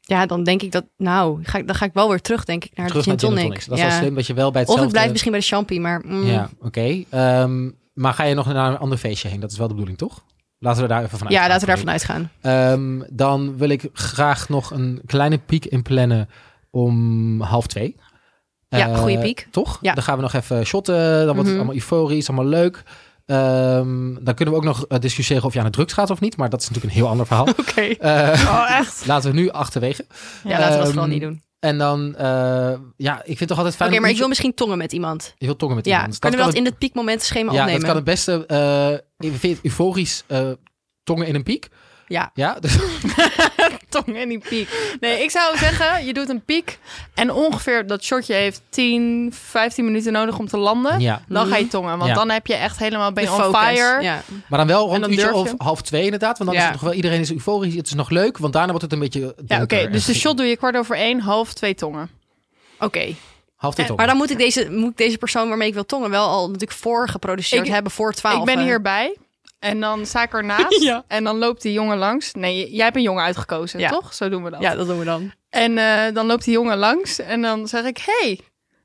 Speaker 3: ja, dan denk ik dat... Nou, ga ik, dan ga ik wel weer terug, denk ik, naar
Speaker 2: Terug
Speaker 3: de
Speaker 2: naar
Speaker 3: gin
Speaker 2: gin en
Speaker 3: tonic.
Speaker 2: tonics. Dat is
Speaker 3: ja.
Speaker 2: wel slim dat je wel bij
Speaker 3: Of
Speaker 2: hetzelfde...
Speaker 3: ik blijf misschien bij de champi, maar... mm,
Speaker 2: Ja, oké. Ehm, maar ga je nog naar een ander feestje heen? Dat is wel de bedoeling, toch? Laten we daar even van
Speaker 3: ja,
Speaker 2: uitgaan.
Speaker 3: laten we daarvan
Speaker 1: [LAUGHS]
Speaker 3: uitgaan.
Speaker 2: Ehm, dan wil ik graag nog een kleine piek inplannen om half twee.
Speaker 3: Ja,
Speaker 2: Eh,
Speaker 3: goede piek.
Speaker 2: Toch?
Speaker 3: Ja.
Speaker 2: Dan gaan we nog even shotten. Dan wordt het
Speaker 3: Mhm.
Speaker 2: allemaal euforisch, allemaal leuk. Ehm, dan kunnen we ook nog eh, discussiëren of je aan de drugs gaat of niet. Maar dat is natuurlijk een heel ander
Speaker 3: [LAUGHS]
Speaker 2: verhaal.
Speaker 3: Oké.
Speaker 2: Eh,
Speaker 1: Oh, echt?
Speaker 2: laten we nu achterwege.
Speaker 3: Ja, laten we dat
Speaker 2: Ehm,
Speaker 3: vooral niet doen. Oké,
Speaker 2: En dan, eh, ja, ik vind het toch altijd fijn... om
Speaker 3: maar ik
Speaker 2: niet-
Speaker 3: wil misschien tongen met iemand.
Speaker 2: Je wilt tongen met
Speaker 3: Ja,
Speaker 2: iemand. dus
Speaker 3: kunnen
Speaker 2: Dat
Speaker 3: we dat
Speaker 2: kan
Speaker 3: in het piekmomentenschema
Speaker 2: Ja,
Speaker 3: opnemen?
Speaker 2: dat kan het beste. eh, ik vind het euforisch eh, tongen in een piek.
Speaker 3: Ja.
Speaker 2: Ja, [LAUGHS] dus
Speaker 1: [LAUGHS] Tong en die piek. Nee, ik zou zeggen, je doet een piek. En ongeveer dat shotje heeft 10, 15 minuten nodig om te landen.
Speaker 2: ja.
Speaker 1: Dan ga je tongen, want
Speaker 2: Ja.
Speaker 1: dan heb je echt helemaal ben je
Speaker 3: Mhm. De
Speaker 1: on
Speaker 3: focus,
Speaker 1: fire.
Speaker 3: Ja.
Speaker 2: Maar dan wel rond
Speaker 1: dan
Speaker 2: een uurtje
Speaker 1: durf
Speaker 2: of
Speaker 1: je.
Speaker 2: half twee inderdaad. Want dan is
Speaker 3: Ja.
Speaker 2: het nog wel, iedereen is euforisch. Het is nog leuk, want daarna wordt het een beetje
Speaker 1: Ja,
Speaker 2: donker
Speaker 1: oké.
Speaker 2: en
Speaker 1: dus de
Speaker 2: ge-
Speaker 1: shot doe je kwart over één, half twee tongen.
Speaker 3: Oké,
Speaker 2: Half dit op.
Speaker 3: maar dan moet ik, deze, moet ik deze persoon waarmee ik wil tongen wel al natuurlijk voor geproduceerd
Speaker 1: Ik-
Speaker 3: hebben voor 12.
Speaker 1: Ik ben
Speaker 3: hè?
Speaker 1: hierbij en dan sta ik ernaast
Speaker 3: [LAUGHS] Ja.
Speaker 1: en dan loopt die jongen langs. Nee, j- jij hebt een jongen uitgekozen,
Speaker 3: Ja.
Speaker 1: toch? Zo doen we dat.
Speaker 3: Ja, dat doen we dan.
Speaker 1: En eh, dan loopt die jongen langs en dan zeg ik, hey,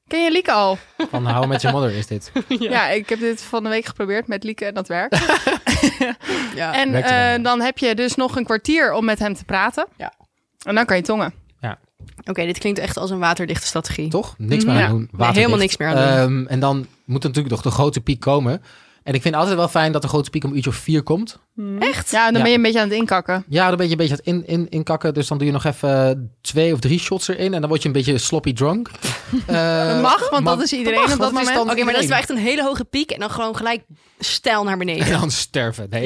Speaker 1: ken je Lieke al?
Speaker 2: Van hou met je mother is dit.
Speaker 1: Ja. ik heb dit van de week geprobeerd met Lieke en dat werkt.
Speaker 3: Ja.
Speaker 1: En
Speaker 2: Werkt het wel?
Speaker 1: eh, dan heb je dus nog een kwartier om met hem te praten.
Speaker 3: Ja.
Speaker 1: En dan kan je tongen.
Speaker 3: Oké, dit klinkt echt als een waterdichte strategie.
Speaker 2: [LAUGHS] Toch? Niks meer
Speaker 1: Ja.
Speaker 2: aan doen. Waterdicht.
Speaker 3: helemaal niks meer aan
Speaker 2: Ehm, en dan moet natuurlijk nog de grote piek komen. En ik vind altijd wel fijn dat de grote piek om een uurtje of vier komt.
Speaker 3: Echt?
Speaker 1: Ja, en dan
Speaker 2: Ja.
Speaker 1: ben je een beetje aan het inkakken.
Speaker 2: Ja, dan ben je een beetje aan het in, in, inkakken. Dus dan doe je nog even twee of drie shots erin. En dan word je een beetje sloppy drunk. Eh,
Speaker 1: [LAUGHS] dat mag, want
Speaker 2: maar-
Speaker 1: dat is iedereen
Speaker 2: mag,
Speaker 1: op dat
Speaker 2: is
Speaker 1: moment.
Speaker 2: dan-
Speaker 3: Oké, maar dat is wel echt een hele hoge piek en dan gewoon gelijk stijl naar
Speaker 2: En
Speaker 3: beneden.
Speaker 2: dan [LAUGHS] sterven. Nee.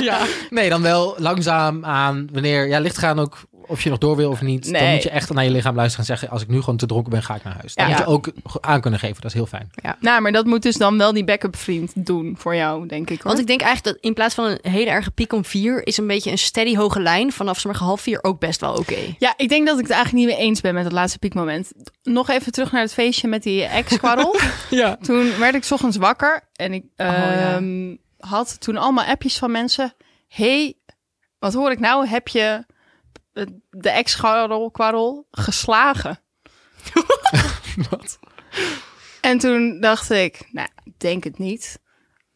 Speaker 3: Ja.
Speaker 2: Nee, dan wel langzaam aan wanneer. Ja, licht gaan ook of je nog door wil of niet, dan
Speaker 1: Nee.
Speaker 2: moet je echt naar je lichaam luisteren en zeggen: als ik nu gewoon te dronken ben, ga ik naar huis. Dat
Speaker 1: Ja.
Speaker 2: moet je ook ge- aan kunnen geven. Dat is heel fijn.
Speaker 1: Nou, maar dat moet dus dan wel die backup vriend doen voor jou, denk ik. Hoor.
Speaker 3: Want ik denk eigenlijk dat in plaats van een hele erge piek om vier... is een beetje een steady hoge lijn vanaf zeg maar half vier ook best wel oké.
Speaker 1: Ja, ik denk dat ik het eigenlijk niet meer eens ben met dat laatste piekmoment. Nog even terug naar het feestje met die ex-kwarrel.
Speaker 2: [LAUGHS] Ja. Oh,
Speaker 1: toen werd ik 's ochtends wakker en ik
Speaker 3: ja.
Speaker 1: ehm, had toen allemaal appjes van mensen. hey, wat hoor ik nou? Heb je eh, de ex-kwarrel kwarrel geslagen?
Speaker 2: [LAUGHS] Wat?
Speaker 1: En toen dacht ik, nou, ik denk het niet.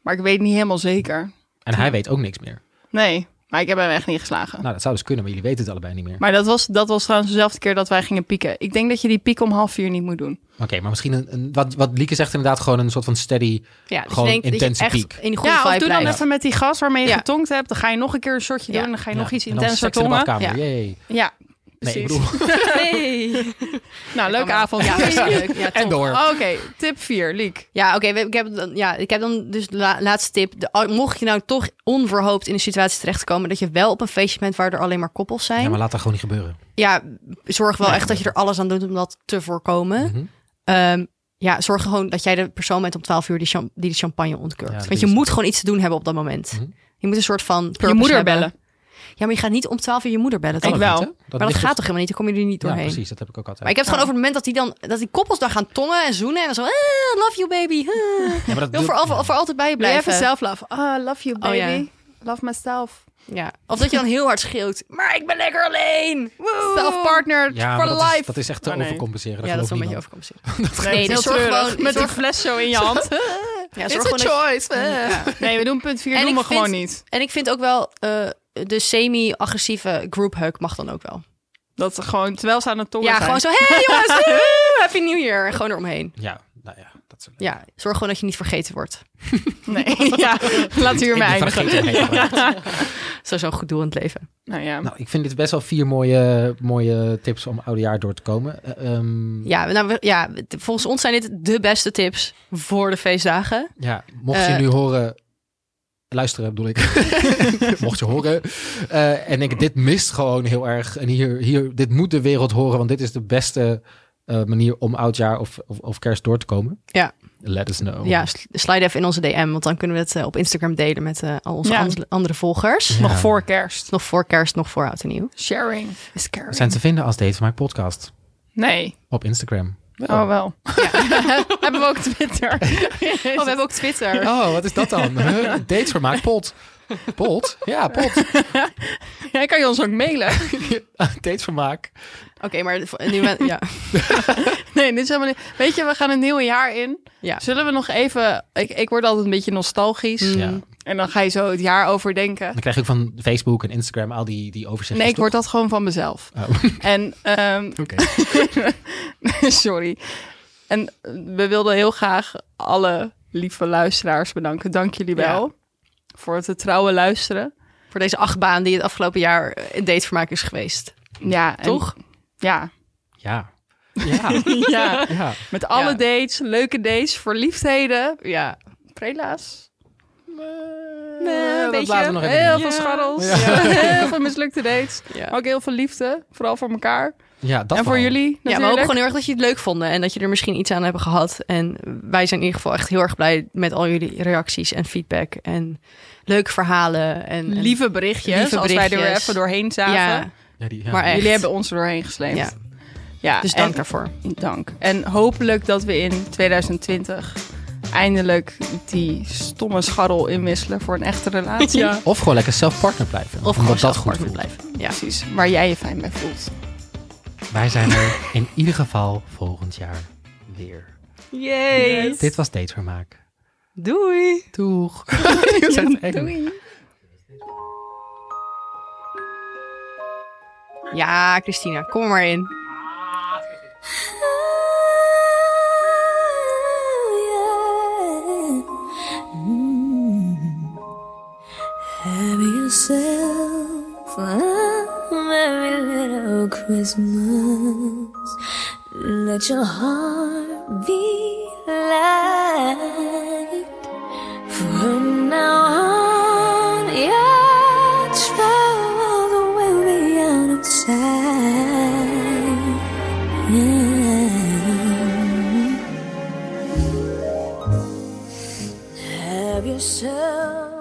Speaker 1: Maar ik weet niet helemaal zeker.
Speaker 2: En hij weet ook niks meer.
Speaker 1: Nee, maar ik heb hem echt niet geslagen.
Speaker 2: Nou, dat zou dus kunnen, maar jullie weten het allebei niet meer.
Speaker 1: Maar dat was, dat was trouwens dezelfde keer dat wij gingen pieken. Ik denk dat je die piek om half vier niet moet doen.
Speaker 2: Oké, maar misschien een, een- wat, wat Lieke zegt, inderdaad, gewoon een soort van steady.
Speaker 3: Ja, dus
Speaker 2: Gewoon
Speaker 3: je denkt dat
Speaker 2: intense
Speaker 3: je echt
Speaker 2: piek.
Speaker 3: in die goede
Speaker 1: Ja, of
Speaker 3: vibe
Speaker 1: doe dan
Speaker 3: blijft.
Speaker 1: even met die gas waarmee je
Speaker 3: Ja.
Speaker 1: getonkt hebt. Dan ga je nog een keer een shotje
Speaker 3: Ja.
Speaker 1: doen. En dan ga je nog
Speaker 2: Ja,
Speaker 1: iets
Speaker 2: en dan
Speaker 1: intenser
Speaker 2: seks in de
Speaker 1: tongen.
Speaker 2: badkamer, jee.
Speaker 1: Ja,
Speaker 2: Nee,
Speaker 1: precies.
Speaker 2: ik bedoel, [LAUGHS]
Speaker 1: [LAUGHS]
Speaker 3: Nee.
Speaker 1: Nou, leuke avond. [LAUGHS]
Speaker 3: Ja, dat is leuk. Ja,
Speaker 2: en
Speaker 3: top.
Speaker 2: door.
Speaker 1: Oké, tip 4, Liek.
Speaker 3: Ja, oké. we- ik, heb dan- ja, ik heb dan dus de la- laatste tip. De, al- mocht je nou toch onverhoopt in een situatie terechtkomen... dat je wel op een feestje bent waar er alleen maar koppels zijn...
Speaker 2: Ja, maar laat dat gewoon niet gebeuren.
Speaker 3: ja, zorg wel echt dat je er alles aan doet om dat te voorkomen.
Speaker 2: Mhm.
Speaker 3: Ehm, ja, zorg gewoon dat jij de persoon bent om 12 uur die, cham- die de champagne ontkurkt.
Speaker 2: Ja, dat
Speaker 3: Want je
Speaker 2: is-
Speaker 3: moet gewoon iets te doen hebben op dat moment.
Speaker 2: Mhm.
Speaker 3: Je moet een soort van. purpose
Speaker 1: Je moeder
Speaker 3: hebben.
Speaker 1: bellen.
Speaker 3: Ja, maar je gaat niet om 12 uur je moeder bellen.
Speaker 2: Kan
Speaker 3: Toch?
Speaker 1: Ik
Speaker 2: ook
Speaker 1: wel.
Speaker 2: niet, hè?
Speaker 3: maar dat
Speaker 2: ligt
Speaker 3: gaat
Speaker 2: dus-
Speaker 3: toch helemaal niet? Dan kom je er niet doorheen.
Speaker 2: Ja, precies. Dat heb ik ook altijd.
Speaker 3: Maar ik heb het gewoon over het moment dat die, dan, dat die koppels dan gaan tongen en zoenen. En dan zo, ah, love you baby. [LAUGHS] ah.
Speaker 2: Ja, maar dat
Speaker 3: Wil
Speaker 2: doet-
Speaker 3: voor, al- voor altijd bij je blijven.
Speaker 1: self-love. Ah, love you,
Speaker 3: Oh, ja.
Speaker 1: Love myself.
Speaker 3: Ja. Of dat je dan heel hard schreeuwt. Maar ik ben lekker alleen. Woe.
Speaker 1: Self-partnered
Speaker 2: Ja,
Speaker 1: for
Speaker 2: maar dat
Speaker 1: life.
Speaker 2: is, dat is echt te
Speaker 1: Oh, nee.
Speaker 2: overcompenseren. Dat
Speaker 3: Ja, dat is wel een
Speaker 2: gelooft
Speaker 3: beetje
Speaker 2: niemand.
Speaker 3: overkomstig.
Speaker 1: Nee,
Speaker 3: Nee,
Speaker 1: het
Speaker 3: dus
Speaker 1: is heel
Speaker 3: zorg
Speaker 1: treurig.
Speaker 3: gewoon-
Speaker 1: Met
Speaker 3: zorg-
Speaker 1: die fles zo in je [LAUGHS] hand.
Speaker 3: Ja, zorg
Speaker 1: It's a
Speaker 3: gewoon dat je-
Speaker 1: choice. Nee, we doen punt 4
Speaker 3: En
Speaker 1: doen
Speaker 3: ik
Speaker 1: we
Speaker 3: vind-
Speaker 1: gewoon niet.
Speaker 3: En ik vind ook wel eh, de semi-agressieve group hug mag dan ook wel.
Speaker 1: Dat ze gewoon, terwijl ze aan het tongen
Speaker 3: Ja,
Speaker 1: zijn.
Speaker 3: gewoon zo, hey jongens, woe, happy new year. En gewoon eromheen.
Speaker 2: Ja, nou ja. Dat is
Speaker 3: Ja, zorg gewoon dat je niet vergeten wordt.
Speaker 1: Nee, ja. Laten we
Speaker 2: Ik
Speaker 1: hiermee
Speaker 2: ben
Speaker 1: eindigen.
Speaker 2: vergeten. [LAUGHS] hoe hij gebruikt.
Speaker 3: Zo zo'n goed doel in het leven.
Speaker 1: Nou ja.
Speaker 2: Nou, ik vind dit best wel vier mooie, mooie tips om oudejaar door te komen. Eh, ehm, ja.
Speaker 3: Ja, nou, we- ja, t- volgens ons zijn dit de beste tips voor de feestdagen.
Speaker 2: mocht je
Speaker 3: Eh.
Speaker 2: nu horen... Luisteren bedoel [LAUGHS] ik. mocht je horen. eh, en ik, dit mist gewoon heel erg. En hier, hier, dit moet de wereld horen, want dit is de beste eh, manier om oudjaar of, of, of kerst door te komen.
Speaker 3: Ja.
Speaker 2: Let us know.
Speaker 3: Ja, sl- slide even in onze DM, want dan kunnen we het eh, op Instagram delen met eh, al onze
Speaker 1: Ja.
Speaker 3: ans- andere volgers.
Speaker 2: Ja.
Speaker 1: Nog voor kerst.
Speaker 3: Nog voor kerst, nog voor oud en nieuw.
Speaker 1: Sharing is caring.
Speaker 2: Zijn te vinden als Date van mijn podcast
Speaker 1: Nee.
Speaker 2: op Instagram.
Speaker 1: Oh, wel. [LAUGHS] Hebben we ook Twitter.
Speaker 3: Oh, we hebben ook Twitter.
Speaker 2: Oh, wat is dat dan? Huh? [LAUGHS] Dates vermaakt pot. Pot? Ja, [LAUGHS] pot.
Speaker 1: Jij kan je ons ook mailen.
Speaker 2: [LAUGHS] Dates vermaak.
Speaker 3: Oké, maar voor- nu ben- ja.
Speaker 1: Nee, dit is helemaal niet... Weet je, we gaan een nieuwe jaar in.
Speaker 3: Ja.
Speaker 1: Zullen we nog even... Ik, ik word altijd een beetje nostalgisch.
Speaker 2: Ja.
Speaker 1: En dan ga je zo het jaar overdenken.
Speaker 2: Dan krijg je ook van Facebook en Instagram al die, die overzichten.
Speaker 1: Nee, ik word dat gewoon van mezelf.
Speaker 2: Oh, [LAUGHS]
Speaker 1: En ehm, [LAUGHS]
Speaker 2: oké.
Speaker 1: Sorry. En eh, we wilden heel graag alle lieve luisteraars bedanken. Dank jullie
Speaker 3: Ja.
Speaker 1: wel voor het trouwe luisteren.
Speaker 3: Voor deze achtbaan die het afgelopen jaar eh, een datevermaak is geweest.
Speaker 1: Ja, en-
Speaker 3: Toch? [LAUGHS]
Speaker 1: Ja.
Speaker 2: Ja. [LAUGHS] Ja.
Speaker 1: ja.
Speaker 2: ja.
Speaker 1: Met alle
Speaker 3: Ja.
Speaker 1: dates, leuke dates, verliefdheden.
Speaker 3: Ja.
Speaker 1: Prela's.
Speaker 2: dat laten we nog even
Speaker 1: heel
Speaker 2: niet.
Speaker 1: veel
Speaker 3: Ja.
Speaker 1: scharrels. [LAUGHS] Heel veel mislukte dates.
Speaker 3: Ja.
Speaker 1: Maar ook heel veel liefde. Vooral voor elkaar.
Speaker 2: Ja, dat
Speaker 1: en voor
Speaker 2: vooral.
Speaker 1: jullie natuurlijk.
Speaker 3: Ja, we hopen gewoon heel erg dat jullie het leuk vonden en dat je er misschien iets aan hebben gehad. En wij zijn in ieder geval echt heel erg blij met al jullie reacties en feedback en leuke verhalen. En, en-
Speaker 1: Lieve berichtjes.
Speaker 3: Lieve
Speaker 1: Als wij er weer
Speaker 3: berichtjes.
Speaker 1: even doorheen zagen.
Speaker 3: ja,
Speaker 2: Ja, die, ja.
Speaker 3: Maar echt.
Speaker 1: Jullie hebben ons er doorheen gesleept.
Speaker 3: Ja.
Speaker 1: Ja,
Speaker 3: dus dank
Speaker 1: Ah, en-
Speaker 3: daarvoor.
Speaker 1: Dank. En hopelijk dat we in 2020 eindelijk die stomme scharrel inwisselen voor een echte relatie.
Speaker 2: Of gewoon lekker zelf partner blijven.
Speaker 3: Of
Speaker 2: omdat
Speaker 3: gewoon
Speaker 2: dat
Speaker 3: zelf
Speaker 2: goed
Speaker 3: partner
Speaker 2: voelt.
Speaker 3: blijven. Ja.
Speaker 1: Precies, waar jij je fijn bij voelt.
Speaker 2: Wij zijn er in ieder geval volgend jaar weer.
Speaker 3: Yay.
Speaker 2: Dit was Dates vermaak.
Speaker 3: Doei.
Speaker 2: Doeg. [LAUGHS] Je
Speaker 1: [LAUGHS]
Speaker 2: bent eng.
Speaker 3: Ja, Christina, kom er maar in.
Speaker 4: Have yourself a merry little Christmas. Let your heart be light. From now on, your troubles will be out of sight. yourself.